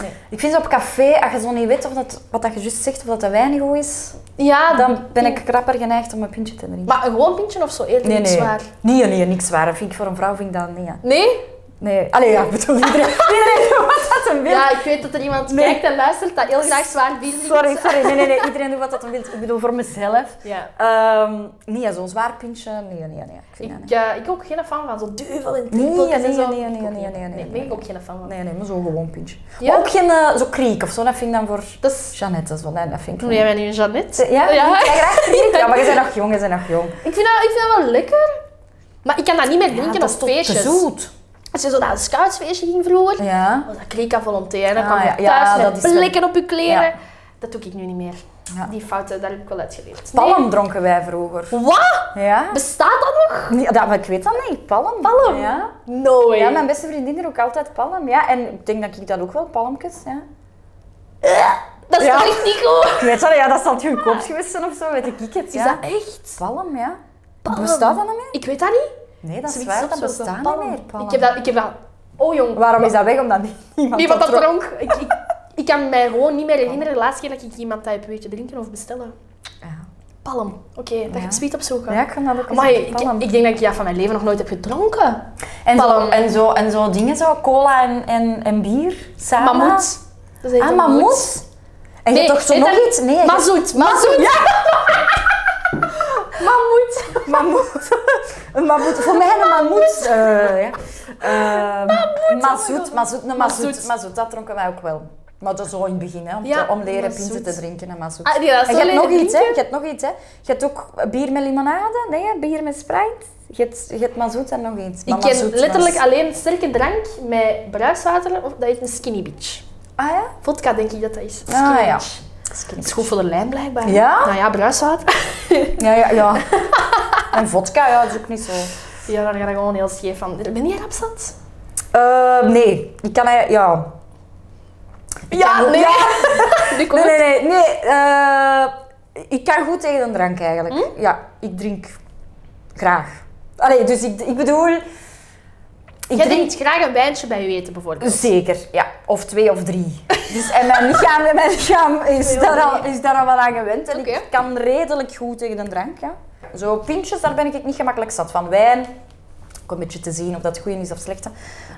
Nee.
Ik vind op café, als je zo niet weet of dat, wat dat je juist zegt, of dat de wijn goed is,
Ja,
dan ben ik krapper geneigd om een pintje te drinken.
Ah, Maar een gewoon pintje of zo, eerder
nee,
niet
nee.
zwaar.
Nee, nee, niks waar. Vind ik, voor een vrouw vind ik dat niet. hè.
Nee?
Nee. Allee, ja, ik bedoel, iedereen, [laughs] iedereen doet wat dat hem wil.
Ja, ik weet dat er iemand
Nee.
kijkt en luistert dat heel graag zwaar bier drinkt.
Sorry, sorry. Nee, nee, nee. Iedereen doet wat dat hem wil. Ik bedoel, voor mezelf.
Ja.
Ehm nee, zo'n zwaar pintje. Nee, nee, nee. Ik vind dat
Ik,
niet.
eh, ik ben ook geen fan van zo'n duvel en
Nee,
trippeltjes
nee,
en zo.
nee, nee,
Ik ook
nee, nee,
niet.
nee,
Nee, ben
nee.
ik ook geen fan van.
Nee, nee, maar zo'n gewoon pintje.
Ja?
Maar ook geen eh, zo kriek of zo. Dat vind ik dan voor
Dat is...
Jeannette. Dat, is wel, dat vind ik
Noem jij mij nu Jeannette?
Ja?
ja.
Jij graag kriek? Ja, maar je bent nog jong, je bent nog jong.
Ik, vind dat, ik vind dat wel lekker. Maar ik kan dat niet meer drinken
dat
op
toch te
feestjes.
zoet.
Als je zo naar een scoutsfeestje ging vroeger,
Ja.
was dat kreeg aan volontaire. Dan
Ah,
kwam je
ja.
thuis
Ja, dat
met
is wel-
blikken op je kleren.
Ja.
Dat doe ik nu niet meer.
Ja.
Die fouten, daar heb ik wel uitgeleerd. Nee.
Palm dronken wij vroeger.
Wat?
Ja?
Bestaat dat nog?
Nee, dat, maar ik weet dat niet. Palm.
Palm?
Ja.
No way.
Ja, mijn beste vriendin er ook altijd palm. Ja, en ik denk dat ik dat ook wel, palmkes. Ja.
Dat is
Ja.
toch echt niet goed?
Ik weet wel, ja, dat zal het goedkoop geweest zijn of zo, weet ik het.
Is
Ja.
dat echt?
Palm, ja.
Palm?
Bestaat dat nog meer?
Ik weet dat niet.
Nee, dat is
Zoiets
waar,
op
dat
zo'n
bestaat
palm.
niet meer, palm.
Ik heb dat... Ik heb dat... Oh jong.
Waarom is dat weg? Omdat [laughs] nie- niemand
Niemand dat
dat
dronk. Ik, ik, ik kan mij gewoon niet meer herinneren de laatste keer dat ik iemand dat heb weten drinken of bestellen.
Ja.
Palm. Oké, dat
Ja.
gaat sweet opzoeken.
Ja, ik ga dat ook eens
Amai,
op de
ik,
palm.
ik denk dat ik ja, van mijn leven nog nooit heb gedronken.
En zo,
palm.
en, zo, en zo dingen zo, cola en, en, en bier samen.
Mammoet. Dat is
Ah, mammoet. En je
Nee,
hebt toch zo
heet
nog
dat-
iets? Nee, je-
Mazoet. Mazoet. [laughs] Mammoet.
Mammoet. Een mammoet. Voor mij een mammoet. Eh ja. Eh,
oh
mazoet, mazoet, een mazoet,
Mazoet.
mazoet. Dat dronken wij ook wel. Maar dat is zo in het begin, hè, om,
Ja,
te, om leren pinten
mazoet.
te drinken en mazoet.
Ah, die
en
dat zo
je hebt
leren
nog iets, hè?
drinken?
Je hebt nog iets, hè? Je hebt ook bier met limonade, nee, hè, bier met Sprite. Je hebt, je hebt mazoet en nog iets.
Ik
Maar
ken
mazoet was-
letterlijk alleen sterke drank met bruiswater, of dat heet een skinny bitch.
Ah ja?
Vodka denk ik dat dat is.
Ah, ja.
Skinwich. Het is goed voor de lijn blijkbaar.
Ja?
Nou ja, bruiswater.
Ja, ja, [laughs] ja. en vodka, ja, dat is ook niet zo.
Ja, daar ga ik gewoon heel scheef van. Ben jij rapsat?
Eh, nee, ik kan... eh, Ja. Ik kan goed- Ja.
Nu komt
Nee,
het.
nee, nee. nee eh, ik kan goed tegen een drank eigenlijk.
Hm?
Ja, ik drink graag. Allee, dus ik, ik bedoel... Ik
Jij drinkt graag een wijntje bij je eten bijvoorbeeld.
Zeker, ja. Of twee of drie. Dus, en mijn lichaam, en mijn lichaam is,
Heel
daar al,
mooi.
is daar al wel aan gewend. En
Oké.
ik kan redelijk goed tegen een drank. Ja. Zo pintjes, daar ben ik niet gemakkelijk zat van. Wijn, ook een beetje te zien of dat goed is of slecht. hè.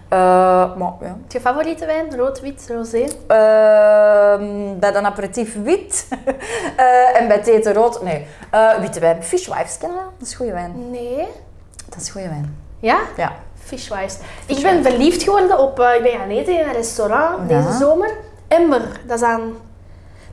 Eh, maar ja.
Je favoriete wijn? Rood, wit, rosé?
Ehm, bij een aperitief wit [laughs] Eh, en bij het eten rood. Nee, Eh, witte wijn. Fishwives kennen we dat? Dat is goede wijn.
Nee.
Dat is goede wijn.
Ja?
Ja.
Fishwives. Ik ben verliefd geworden op... eh, ik ben gaan eten in een restaurant
Ja.
deze zomer. Ember. Dat is aan...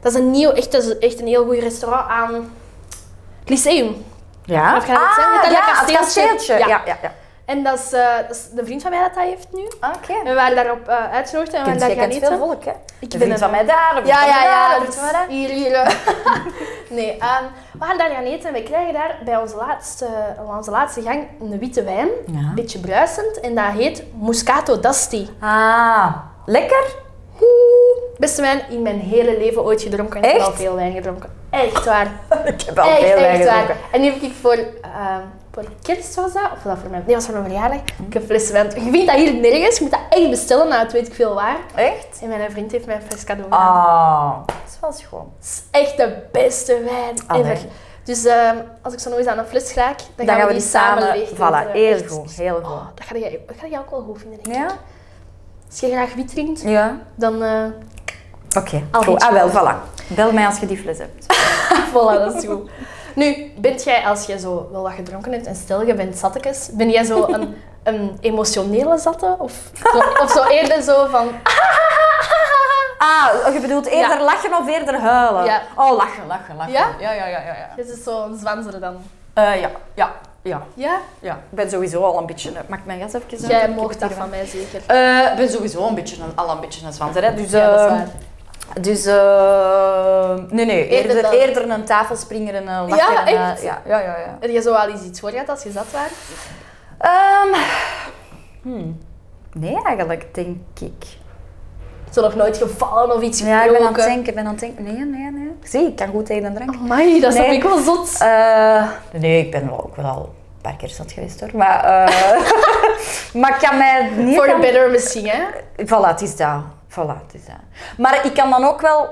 Dat is een nieuw, echt, dat is echt een heel goed restaurant aan... het Lyceum.
Ja?
Of gaat het zijn? Met dat
Ah, ja,
kasteeltje.
het kasteeltje.
Ja.
Ja, ja, ja.
En dat is, eh, dat is de vriend van mij dat dat heeft nu.
Oké.
En we waren daarop eh uitgenodigd en we
Kent,
waren daar
jij
gaan
kent veel
eten.
volk, hè?
Ik
De
ben
vriend
een-
van mij daar, de vriend
Ja,
van
ja,
mij daar,
ja.
de vriend van mij daar.
Hier, hier. eh. [laughs] nee, ehm, we gaan daar gaan eten en we krijgen daar bij onze laatste, aan onze laatste gang een witte wijn. Een beetje bruisend. En dat heet Moscato d'Asti.
Ah, lekker? [laughs]
Beste wijn in mijn hele leven ooit gedronken. En Ik heb
Echt?
al veel wijn gedronken. Echt waar.
Ik heb al
echt,
veel wijn
echt waar.
gedronken.
En die heb ik voor, ehm, voor kerst was dat, of was dat voor mijn, nee, was voor mijn verjaardag.
Hm.
Ik heb fles wijn. Je vindt dat hier nergens. Je moet dat echt bestellen, nou, het weet ik veel waar.
Echt?
En mijn vriend heeft mij een fles cadeau gedaan.
Ah, dat is wel schoon.
Het is echt de beste wijn
Allee.
ever. Dus ehm, als ik zo nog eens aan een fles raak, dan,
Ah, Dan gaan we die samen...
leeg
Voilà,
drinken.
heel
Echt.
goed, heel goed.
Oh, dat ga jij, dat ga jij ook wel goed vinden. denk ik.
Ja?
Als je graag wit drinkt,
Ja.
dan eh
Oké,
Al
goed.
goed.
Ah, wel, voilà. Bel mij als je die fles hebt.
[laughs] voilà, dat is goed. Nu, bent jij, als jij zo wel wat gedronken hebt en stel je bent zattekes, ben jij zo een, een emotionele zatte? Of, zo- of zo eerder zo van...
Ah, je bedoelt eerder
Ja.
lachen of eerder huilen?
Ja.
Oh, lachen, lachen, lachen.
Ja?
Ja, ja, ja, ja. Ja,
Dit is zo'n zwanzere dan.
Eh, ja, ja, ja,
Ja?
ja. Ik ben sowieso al een beetje... eh, Mag ik mijn jas even... eh,
Jij
ik
moogt
heb
dat
hier
van mij zeker.
Eh, Ik ben sowieso een beetje een, al een beetje een zwanter, hè. Dus,
Ja, dat is
eh,
waar.
Dus, eh, nee, nee.
Eerder
Eerder,
dan-
eerder, een tafelspringer en een lachen.
Ja,
en, eh,
echt?
ja, ja, ja. ja.
Heb je zo al eens iets voor gehad als je zat was?
Ehm, hmm. Nee, eigenlijk, denk ik.
Zo nog nooit gevallen of iets
Ja, ik ben aan het
gebroken?
denken, ik ben aan het denken. Nee, nee, nee. Zie, ik kan goed tegen een drank.
Amai, dat snap
Nee.
ik wel zot.
Eh, nee, ik ben wel ook wel al een paar keer zat geweest hoor. Maar, eh, [laughs] maar ik kan mij niet...
Voor de
aan-
better misschien, hè?
Voilà, het is dat. Voilà, het is dat. Maar ik kan dan ook wel...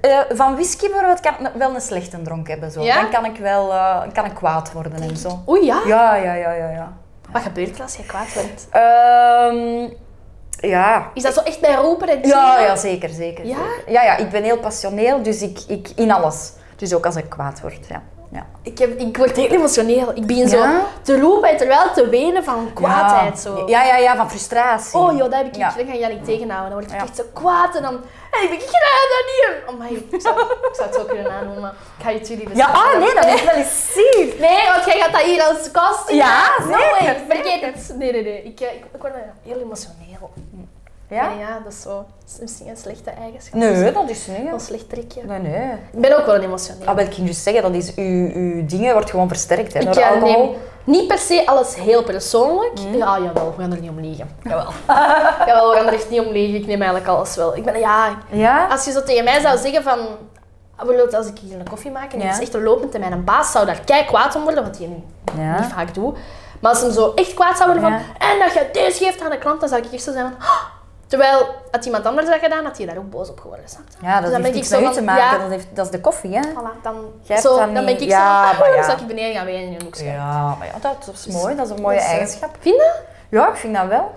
eh, van whisky bijvoorbeeld kan ik wel een slechte dronk hebben. Zo.
Ja?
Dan kan ik wel eh, kan ik kwaad worden en zo.
Oei, ja?
Ja, ja, ja, ja. ja.
Wat gebeurt er als je kwaad bent?
Ehm, ja,
Is dat zo echt bij roepen en
Ja,
gillen?
ja zeker, zeker.
Ja?
zeker. Ja, ja, ik ben heel passioneel, dus ik, ik in alles. Dus ook als ik kwaad word, ja. ja.
Ik, heb, ik word heel emotioneel. Ik
Ja?
begin zo te roepen en terwijl te wenen van kwaadheid.
Ja.
Zo.
Ja, ja, ja, van frustratie.
Oh joh, dat heb ik
Ja.
niet. Dan ga je niet tegenhouden. Dan word ik
Ja.
echt zo kwaad en dan... Hey, ik krijg dat niet. Oh my, ik zou, ik zou het zo kunnen aandoen, maar ik ga je jullie
Ja,
bestellen.
ah nee, dat moet ik wel eens zien.
Nee, want jij gaat dat hier als kost. zien.
Ja,
no
zeker,
way. Vergeet het. Nee, nee, nee. Ik, eh, ik, ik word eh, heel emotioneel. Ja?
Ja?
ja, dat is zo. Dat is misschien een slechte eigenschap.
Nee, dat is niet.
Wel Een
ja.
slecht trekje.
Nee, nee.
Ik ben ook wel een emotioneel.
Ah, wel, ik ging dus zeggen, dat is, uw, uw dingen wordt gewoon versterkt hè,
Ik
door
eh,
alcohol. Mm.
neem niet per se alles heel persoonlijk. Ja, jawel, we gaan er niet om liegen.
[laughs]
Jawel. [laughs] jawel, we gaan er echt niet om liegen. Ik neem eigenlijk alles wel. Ik ben, ja,
Ja?
als je zo tegen mij zou zeggen van... ah, Bijvoorbeeld als ik hier een koffie maak en die
Ja.
is echt een lopend en mijn baas zou daar kei kwaad om worden, wat hij nu
Ja.
niet vaak doet. Maar als hem zo echt kwaad zou worden van...
Ja.
En dat je deze geeft aan de klant, dan zou ik echt zo zijn van... "Ah." Terwijl, had iemand anders dat gedaan, had hij daar ook boos op geworden. Snap je?
Ja, dat
dan
heeft
ben
niks
ik
met
zo
u te
van,
maken.
ja.
Dat, heeft, dat is de koffie, hè?
Voilà, dan,
Jij hebt
zo,
dat
dan ben ik
niet-
zo
ja,
[laughs] van...
maar
"Ah,
ja."
Dan zou ik beneden gaan wenen in een hoekje.
Ja, maar ja, dat is mooi. Dat is een mooie
Dus, eh,
eigenschap.
Vind je?
Ja, ik vind dat wel.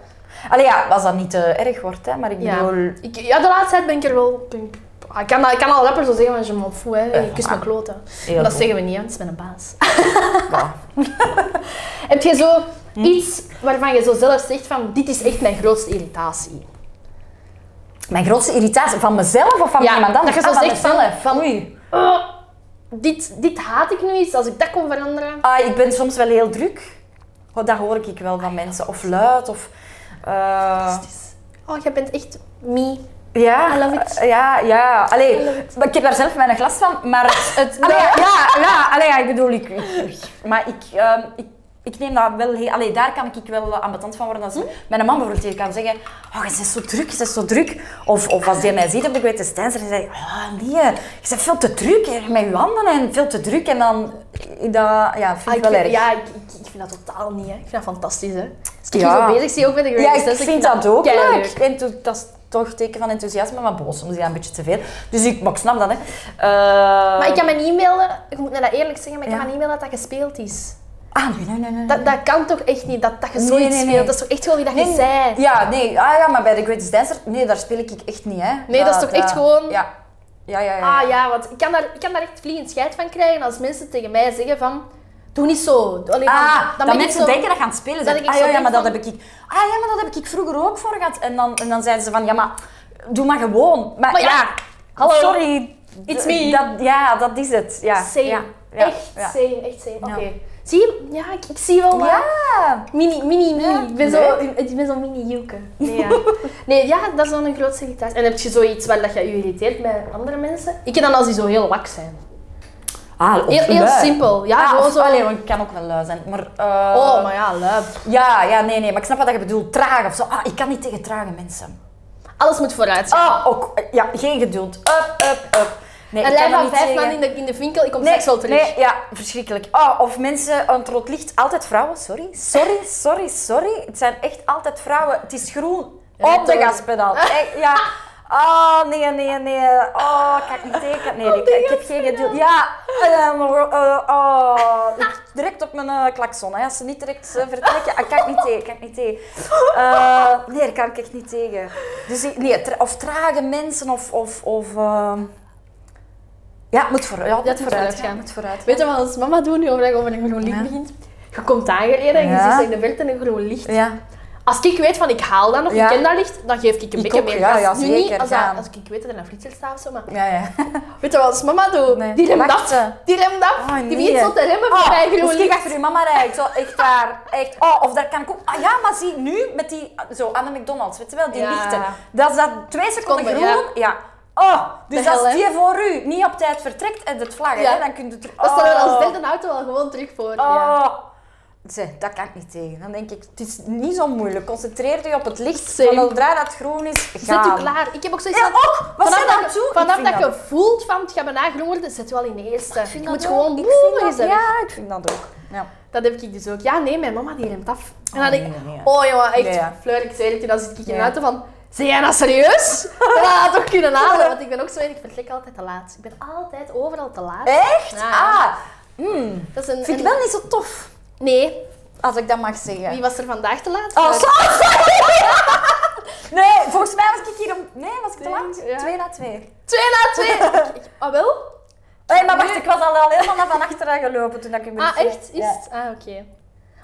Allee, ja, als dat niet te erg wordt, hè. Maar ik
Ja. [laughs]
bedoel...
Ik, ja, de laatste tijd ben ik er wel... ben ik- ah, ik, kan, dat- ik kan al rapper zo zeggen, maar je m'en fout, hè. Je kust mijn kloten.
Heel
Maar Dat
Ah. goed.
zeggen we niet, hè, want het is mijn
[laughs]
baas.
Ja.
Heb je zo
Hm?
iets waarvan je zo zelf zegt van, dit is echt mijn grootste irritatie?
Mijn grootste irritatie, van mezelf of van
Ja,
iemand anders?
dat je zo
Ah, van
zegt van-
mezelf.
van-
Oei.
Oh, dit, dit haat ik nu iets, als ik dat kon veranderen.
Ah, ik ben soms wel heel druk. Oh, dat hoor ik wel van mensen. Of luid, of... eh,
Oh, jij bent echt me
Ja,
I love it.
ja, ja. Allee,
I love it. Ah,
maar ik heb daar zelf mijn glas van, maar het... het allee, ja, ja, allee, ja, ik bedoel, ik... ik- maar ik, ehm, ik, ik neem dat wel... heel- Allee, daar kan ik wel eh, ambetant van worden.
Hm?
Als mijn man bijvoorbeeld hier kan zeggen, oh, je bent zo druk, je bent zo druk. Of, of als die mij ziet op de Greatest Dancer en zegt, oh nee, je bent veel te druk hè, met je handen en veel te druk. En dan, dat ja, vind ik
Ah, ik
wel
vind-
erg.
Ja, ik, ik, ik vind dat totaal niet. Hè. Ik vind dat fantastisch. Hè. Als ik
Ja.
zo bezig zie, ook met de
Ja,
Greatest
ik
Dancer,
vind dat ook
keileuk.
leuk. En toen- dat is toch een teken van enthousiasme, maar boos soms is dat een beetje te veel. Dus ik, maar ik snap dat, hè. Eh,
Maar ik kan me niet inbeelden, ik moet me dat eerlijk zeggen, maar ik
Ja.
kan me niet inbeelden dat dat gespeeld is.
Ah, nee, nee, nee. nee.
Dat, dat kan toch echt niet, dat, dat je
Nee,
zoiets
nee, nee.
speelt? Dat is toch echt gewoon wie dat je
Nee,
zei?
Ja, nee. Ah ja, maar bij de Greatest Dancer, nee, daar speel ik echt niet, hè.
Nee, dat is toch echt gewoon-
Ja. Ja, ja, ja. ja.
Ah ja, want ik kan daar, ik kan daar echt vliegend scheid van krijgen als mensen tegen mij zeggen van... Doe niet zo. Doe- Allee,
Ah,
dan- dan
dat
ben ik
mensen
zo-
denken dat gaan spelen.
dat
zijn.
ik
ah,
zo
ja, ja,
denk
maar dat
van-
heb ik... Ah ja, maar dat heb ik vroeger ook voor gehad. En dan, en dan zeiden ze van, ja, maar doe maar gewoon. Maar,
Maar ja, hallo.
sorry.
It's me.
Dat, ja, dat is het. Ja,
Same.
ja, ja,
echt
ja.
same, echt same. Oké.
Ja.
Zie je? Ja, ik, ik zie wel wat.
Ja.
Mini, mini, mini.
Ja,
ik, ben zo, ik ben zo mini Joke.
[laughs]
Nee, ja. nee, ja, dat is dan een grootste irritatie. En heb je zoiets waar dat je je irriteert bij andere mensen? Ik dan als die zo heel wak zijn.
Ah, of
Heel, heel
lui.
simpel. Ja,
Ah,
gewoon
of-
zo.
Allee, want ik kan ook wel lui zijn. Maar, eh,
Oh, maar ja, lui.
Ja, ja, nee, nee. Maar ik snap wat je bedoelt. Traag of zo. Ah, ik kan niet tegen trage mensen.
Alles moet vooruit. gaan.
Ah, ook. eh, Ja, geen geduld. Up, up, up. Nee,
een
ik kan dat
lijn van
niet
vijf man
tegen.
in de, in de winkel, ik kom
Nee,
straks wel terug.
nee, ja, verschrikkelijk. Oh, of mensen aan het rood licht, altijd vrouwen, sorry. Sorry, sorry, sorry. Het zijn echt altijd vrouwen. Het is groen op de
Rechtdoor.
[laughs] gaspedaal. Echt, ja. Oh, nee, nee, nee. Oh, kan ik niet tekenen. Nee, ik, ik heb geen geduld. Ja, eh, maar, eh, oh. Ik- direct op mijn eh, klakson. Hè. Als ze niet direct eh, vertrekken, ah, kan ik niet tegen. Kan ik niet tegen. Eh, nee, daar kan ik echt niet tegen. Dus ik- nee, tra- of trage mensen of... of, of eh, ja, het moet vooruit. Ja, het
het
moet
moet
vooruit
vooruit
gaan.
gaan.
moet vooruit
Weet je wat ons mama doet nu overdag over een groen licht
Ja.
begint? Je komt aangereden en je
Ja.
ziet in de verte een groen licht.
Ja.
Als ik weet van ik haal dat nog,
Ja.
ik ken dat licht, dan geef ik een
Ik
beetje
ook,
meer
ja,
gas.
ja,
nu
zeker,
niet als,
ja.
dat- als ik weet dat er een flitser staat of zo, maar
Ja, ja.
weet je wat ons mama doet?
Nee.
Die remt af.
Wachten.
Die remt af.
Oh, dus nee.
Die begint zo te remmen voor mij groen
Misschien
licht.
achter uw mama rijden. Zo, echt daar. Echt. Oh, of daar kan ik ook... Ah ja, maar zie, nu met die... Zo, aan de McDonald's, weet je wel? Die
Ja.
lichten. Dat is dat twee seconden
Seconden,
groen. Ja. Oh, dus
De hel,
als
hè?
die voor u niet op tijd vertrekt en het vlaggen,
Ja.
hè, dan kunt u terug...
Dat staat er als
Oh.
derde auto al gewoon terug voor. Ja.
Oh. Zeg, dat kan ik niet tegen. Dan denk ik, het is niet zo moeilijk. Concentreer je op het licht.
Same.
Van zodra dat groen is, gaan.
Zet u klaar. Ik heb ook zoiets
Ja,
van...
ook. Wat zijn dat toe? Ik
vanaf
vind
dat je voelt van het gaat bijna groen worden, zet wel in de eerste. Je
Ik
moet
dat
gewoon
ook. Ik vind
boe,
dat-
is er.
Ja, ik vind dat ook. Ja.
Dat heb ik dus ook. Ja, nee, mijn mama die remt af. En
Oh,
dan denk
nee,
ik,
nee, nee.
oh jongen, echt,
Nee, ja.
Fleur, ik zei het je, dan zit ik in de
Ja.
auto van, zijn jij nou serieus? [laughs] Dan had ik toch kunnen halen, want ik ben ook zo, en ik vertrek altijd te laat. Ik ben altijd overal te laat.
Echt?
Ja, ja.
Ah, mm.
Dat is een,
Eh? vind ik
een-
wel niet zo tof,
Nee,
als ik dat mag zeggen.
wie was er vandaag te laat? Eh,
Oh,
Maar-
sorry! [laughs] nee, volgens mij was ik hier om... Nee, was ik te
Nee,
laat?
ja.
Twee na twee.
Twee na
[laughs]
twee! Ik- ik- Ah, wel?
Hé, maar wacht, ik was al, al helemaal naar van achteren gelopen toen ik u
Ah, echt? Is
Ja.
het? Ah, oké.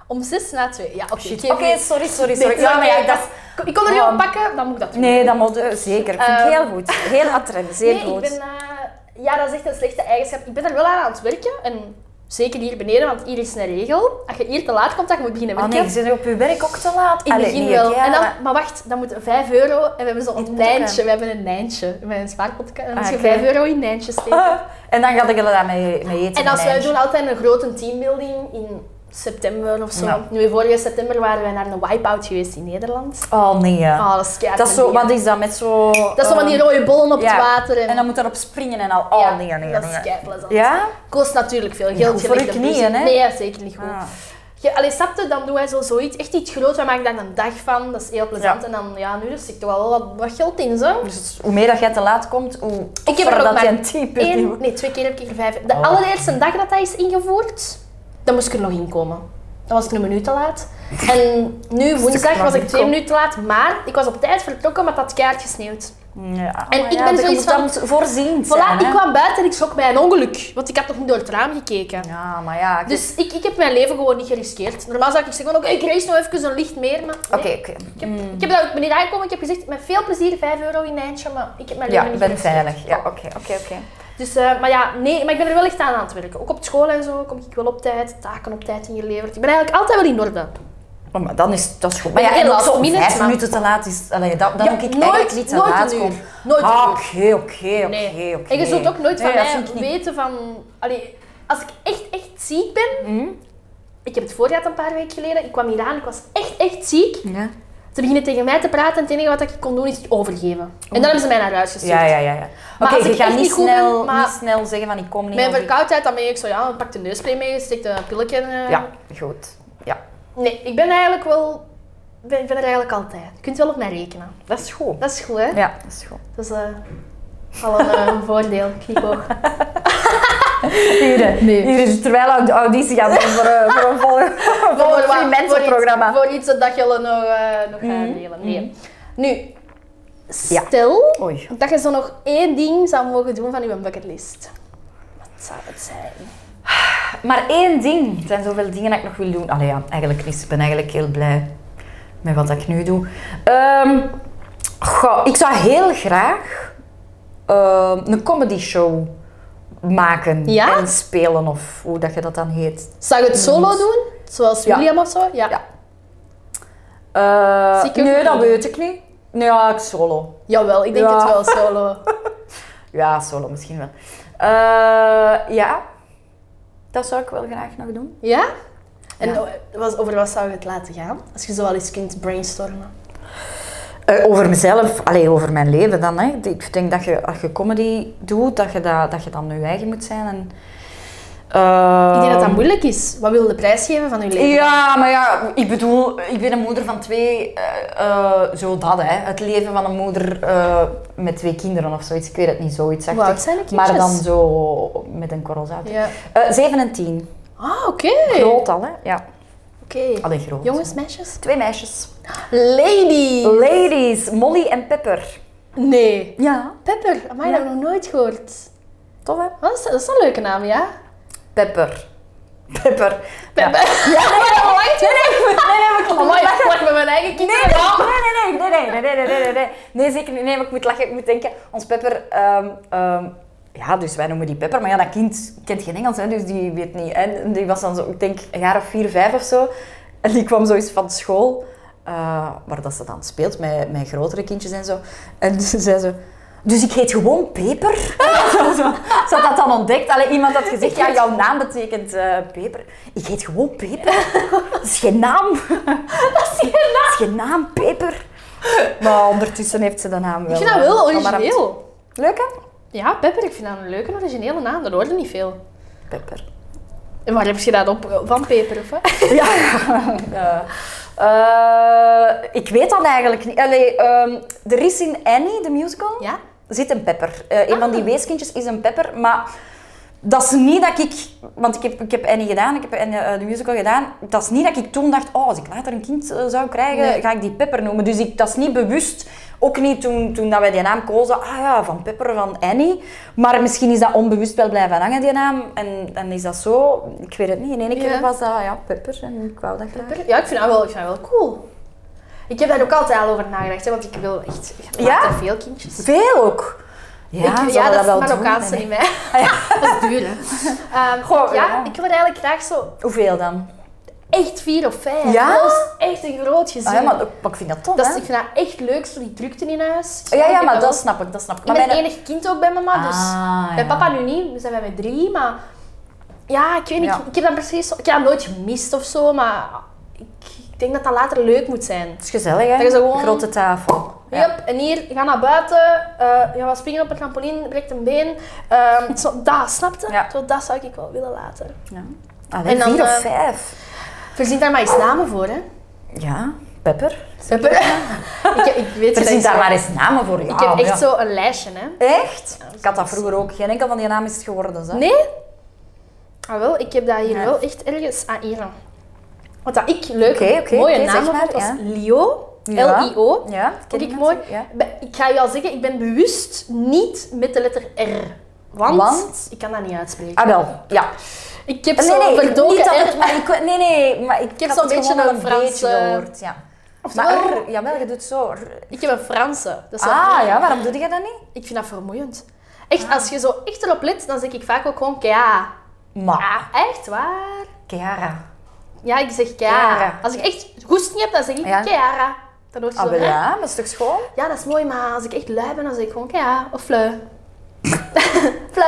Om zes na twee. Ja, oké. ik
Shit.
geef
Oké,
je-
sorry, sorry,
Nee,
sorry. ja, maar ja,
ik,
dat is-
ik kon er niet
Oh.
op pakken, dan moet ik dat doen.
Nee, dat moet eh, zeker. Ik vind het
Ehm.
heel goed. Heel attent, zeer
nee,
goed.
ik ben... eh, ja, dat is echt een slechte eigenschap. Ik ben er wel aan aan het werken. En zeker hier beneden, want hier is een regel. Als je hier te laat komt, dan je moet beginnen
Oh
werken.
nee, je bent op je werk ook te laat.
in het
Allee,
begin
nee,
wel.
ja,
en dan,
maar-
maar wacht, dan moet 5 euro. En we hebben zo'n
moet
nijntje.
ook,
We hebben een nijntje. Met een spaarpotje. Dan moet
Ah,
je
oké.
5 euro in nijntjes steken.
Ah, [laughs] En dan ga ik er daar mee, mee eten.
En als wij
meisje.
doen altijd een grote teambuilding in september of zo.
Ja.
Nu, vorige september waren wij naar een wipeout geweest in Nederland.
Oh nee, ja.
Ah, dat is keihard
dat is zo,
moeilijk.
wat is dat met zo...
Dat is zo van die rode bollen op het water. En,
En dan moet daarop springen en al. Oh,
Ja,
nee, nee,
dat
nee.
is keiplezant.
Ja?
Kost natuurlijk veel
Ja,
geld.
goed
je
voor
legt
je
de bus
knieën,
in.
hè?
Nee, zeker niet goed.
Ah.
Je, allee, snap je? dan doen wij zo zoiets, echt iets groots, wij maken daar een dag van, dat is heel plezant.
Ja.
En dan, ja, nu zit toch wel wat, wat geld in, zo.
Dus hoe meer dat jij te laat komt, hoe
Ik heb er ook
dat
maar
je een type
Eén-
wordt.
nee, twee keer heb ik er vijf. De
Oh.
allereerste dag dat dat is ingevoerd, dan moest ik er nog in komen. Dan was ik een minuut te laat. En
[laughs]
nu, woensdag,
maar
was ik
ik
twee
kom.
minuten te laat, maar ik was op tijd vertrokken, maar het had keihard gesneeuwd.
Ja,
En
maar
ik
ja,
ben
dat
zoiets
moet dan voorzien
Voilà,
zijn,
ik
hè.
kwam buiten en ik schrok bij een ongeluk, want ik had nog niet door het raam gekeken.
Ja, maar ja. ik-
Dus ik, ik heb mijn leven gewoon niet geriskeerd. Normaal zou ik zeggen, van, oké, ik race nog even een licht meer, maar nee.
Oké, oké.
Ik heb, ik heb daar ook beneden aangekomen, ik heb gezegd, met veel plezier, 5 euro in Eindje, maar ik heb mijn leven
Ja, ik
niet
ben
geriskeerd.
veilig. Ja, oké, oké, oké.
Dus, eh, maar ja, nee, maar ik ben er wel echt aan aan het werken. Ook op school en zo kom ik wel op tijd, taken op tijd ingeleverd. Ik ben eigenlijk altijd wel in orde.
Oh, maar dan is dat is goed.
Maar
ja,
ja,
en ook
last
zo
minute,
vijf
maar-
minuten te laat is... Allee, dat, dan
Ja,
ook ik
nooit-
eigenlijk niet te
nooit
laat
een
komen.
uur. Nooit een
Ah,
uur.
Oké, oké,
Nee.
oké, oké.
En je zult ook nooit van
Nee, dat
mij
vind ik niet.
weten van... Allee, als ik echt, echt ziek ben...
Hmm?
Ik heb het voorjaar een paar weken geleden. Ik kwam hier aan, ik was echt, echt ziek.
Ja.
Ze beginnen tegen mij te praten en het enige wat ik kon doen is overgeven. En dan hebben ze mij naar huis gestuurd.
Ja, ja, ja. ja. Oké,
als
je
ik
gaat
echt
niet
niet goed ben,
snel,
maar-
niet snel zeggen van ik kom niet.
Mijn
of ik-
verkoudheid, dan ben ik zo, ja, pak de neuspray mee, steek een pilletje in. eh.
Ja, goed. Ja,
Nee, ik ben eigenlijk wel... Ik ben, ik ben er eigenlijk altijd. Je kunt wel op mij rekenen.
dat is goed.
Dat is goed, hè?
Ja, dat is goed.
Dat is eh, al een eh,
[laughs]
voordeel, knipoog.
Hier, eh,
Nee.
hier is terwijl ik de auditie gaat doen voor, eh, [laughs] voor een volgende voor een
wat-
mensenprogramma. Mhm.
Iets, voor iets dat je nog, eh nog gaat delen. Nee. Nu,
Ja.
stel
Oei.
dat je zo nog één ding zou mogen doen van je bucketlist. Wat zou het zijn?
Maar één ding. Er zijn zoveel dingen dat ik nog wil doen. Allee, ja, eigenlijk niet. Ik ben eigenlijk heel blij met wat ik nu doe. Ehm, goh, ik zou heel graag ehm, een comedy show maken
Ja?
en spelen of hoe dat je dat dan heet.
Zou je het solo doen? Zoals
Ja.
William of zo? Ja.
Ja. Eh,
Zie ik hem
nee, dat
niet.
weet ik niet. Nee, ja, ik solo.
Jawel, ik denk
Ja.
het wel [laughs] solo.
Ja, solo misschien wel. Eh, ja, dat zou ik wel graag nog doen.
Ja? En o- was- over wat zou je het laten gaan? Als je zo al eens kunt brainstormen.
Eh, over mezelf, alleen over mijn leven dan. Hè. Ik denk dat je als je comedy doet, dat je, dat, dat je dan je eigen moet zijn. En, eh,
Ik denk dat dat moeilijk is. Wat wil je de prijs geven van je leven?
Ja, maar ja, ik bedoel, ik ben een moeder van twee, eh, eh, zo dat hè. Het leven van een moeder eh, met twee kinderen of zoiets, ik weet het niet, zoiets.
Hoe
dacht
oud
ik.
zijn de kindjes?
Maar dan zo met een korrel zout.
Ja.
Eh, Zeven en tien.
Ah, oké.
Groot al, hè? Ja.
Oké.
Allee, groot.
Jongens, meisjes?
Twee meisjes.
Lady!
Ladies, Molly en Pepper.
Nee.
Ja.
Pepper, amai, dat heb ik nog nooit gehoord.
Tof, hè?
Wat is, dat is een leuke naam, ja?
Pepper. Pepper.
Pepper. Ja, nee, nee, nee, nee, nee, Amai, ik plak met mijn eigen kinderen
Ja.
aan.
Nee, nee, nee, nee, nee, nee, nee, nee, nee, nee. Nee, zeker niet. Nee, maar ik moet lachen. Ik moet denken, ons Pepper... ehm, ehm, ja, dus wij noemen die Pepper. Maar ja, dat kind kent geen Engels, hè, dus die weet niet. En die was dan zo, ik denk, een jaar of vier, vijf of zo. En die kwam zoiets van school, eh, waar dat ze dan speelt met, met grotere kindjes en zo. En ze zei zo... Dus ik heet gewoon Peper? [laughs] Zo, zo. Ze had dat dan ontdekt. Allee, iemand had gezegd, ja, jouw naam betekent eh, Peper. Ik heet gewoon Peper. Dat is geen [laughs] naam. Dat is geen naam. Peper. Maar ondertussen heeft ze de naam wel.
Ik vind dat wel
eh, allemaal aan
origineel.
het- Leuk, hè?
Ja, Pepper, ik vind dat een leuke originele naam. Dat hoorde niet veel.
Peper.
En waar heb je dat op? eh, Van Pepper of wat?
[laughs] Ja. [laughs] ja. Eh, ik weet dat eigenlijk niet. Allee, ehm, er is in Annie, de musical,
Ja?
zit een pepper. Eh, een van
Ah.
die weeskindjes is een pepper, maar dat is niet dat ik... Want ik heb, ik heb Annie gedaan, ik heb Annie, eh, de musical gedaan. Dat is niet dat ik toen dacht, oh, als ik later een kind eh, zou krijgen,
Nee.
ga ik die pepper noemen. Dus ik, dat is niet bewust. Ook niet toen, toen dat wij die naam kozen, ah ja, van Pepper, van Annie. Maar misschien is dat onbewust wel blijven hangen, die naam. En, en is dat zo? Ik weet het niet. In één keer
Ja.
was dat, ja, Pepper. En ik wou dat graag.
Pepper? Ja, ik vind dat wel, ik vind dat wel cool. Ik heb daar ook altijd al over nagedacht, hè, want ik wil echt ik maak
Ja?
te veel kindjes.
Veel ook. Ja,
ik,
zullen we
dat is
wel
het Marokkaanse
doen?
in mij.
[laughs]
dat is duur, hè. [laughs] Ehm,
Goh,
ja,
ja.
ik wil er eigenlijk graag zo
Hoeveel dan?
echt vier of vijf.
Ja?
Dat is echt een groot gezin.
Ah, ja, maar, maar ik vind dat tof,
dat is,
hè?
ik vind dat echt leuk, zo die drukte in huis.
Ja, ja,
Ik
maar
heb
dat snap ik, dat snap ik.
Ik
Maar
ben
mijn-
enig kind ook bij mama, dus
Ah,
bij
ja.
papa nu niet. We zijn bij met drie, maar ja, ik weet niet.
Ja.
Ik, ik heb dat precies, zo- ik heb dat nooit gemist of zo, maar ik, ik denk dat dat later leuk moet zijn.
Het is gezellig, hè?
Dat is gewoon-
Grote tafel.
Ja. en hier, ga naar buiten, eh je gaat springen op een trampoline, breekt een
[laughs]
been. Ehm zo, dat, snapte?
Ja.
Zo, dat zou ik wel willen laten.
Ja. Allee,
En dan,
vier of
eh,
vijf.
Verzin daar maar eens namen voor, hè.
Ja, Pepper.
[laughs] ik, ik weet
Er
dat ik
zit daar
zo-
maar Ah, eens namen voor.
Ik heb echt zo een lijstje, hè.
Echt? Ik had dat vroeger ook. Geen enkel van die naam is het geworden, zo.
Nee? Ah wel, ik heb dat hier
Ja.
wel echt ergens aan hier. Wat dat ik leuk,
Oké, oké,
mooie
oké,
naam
zeg maar,
vond, was
ja.
Lio.
Ja.
L-I-O.
Ja, dat ken
Vond ik
ik
mooi.
natuurlijk,
Be- Ik ga je al zeggen, ik ben bewust niet met de letter R. Want,
Want?
ik kan dat niet uitspreken.
Ah, wel. Ja.
Ik heb
Nee,
zo'n
nee, niet
verdoken
dat het-
R.
maar ik, nee, nee, maar ik,
heb
had
zo'n
het
beetje
gewoon
een
al beetje
Franse-
gehoord, ja. Maar
Oftewel-
R, jawel, je doet zo. R.
Ik heb een Franse. Dat is wel
Ah,
mooi.
ja, waarom doe je dat niet?
Ik vind dat vermoeiend. Echt, als je zo echt erop let, dan zeg ik vaak ook gewoon Kea.
Maar,
Ah, echt waar?
Chiara.
Ja, ik zeg Kea.
Kea.
Als ik echt goesting heb, dan zeg ik
Ja.
Kiara. Dat hoort zo.
Ah, wel
hè?
ja, maar is toch schoon?
Ja, dat is mooi, maar als ik echt lui ben, dan zeg ik gewoon Kiara of Fleu. [laughs] Fleu.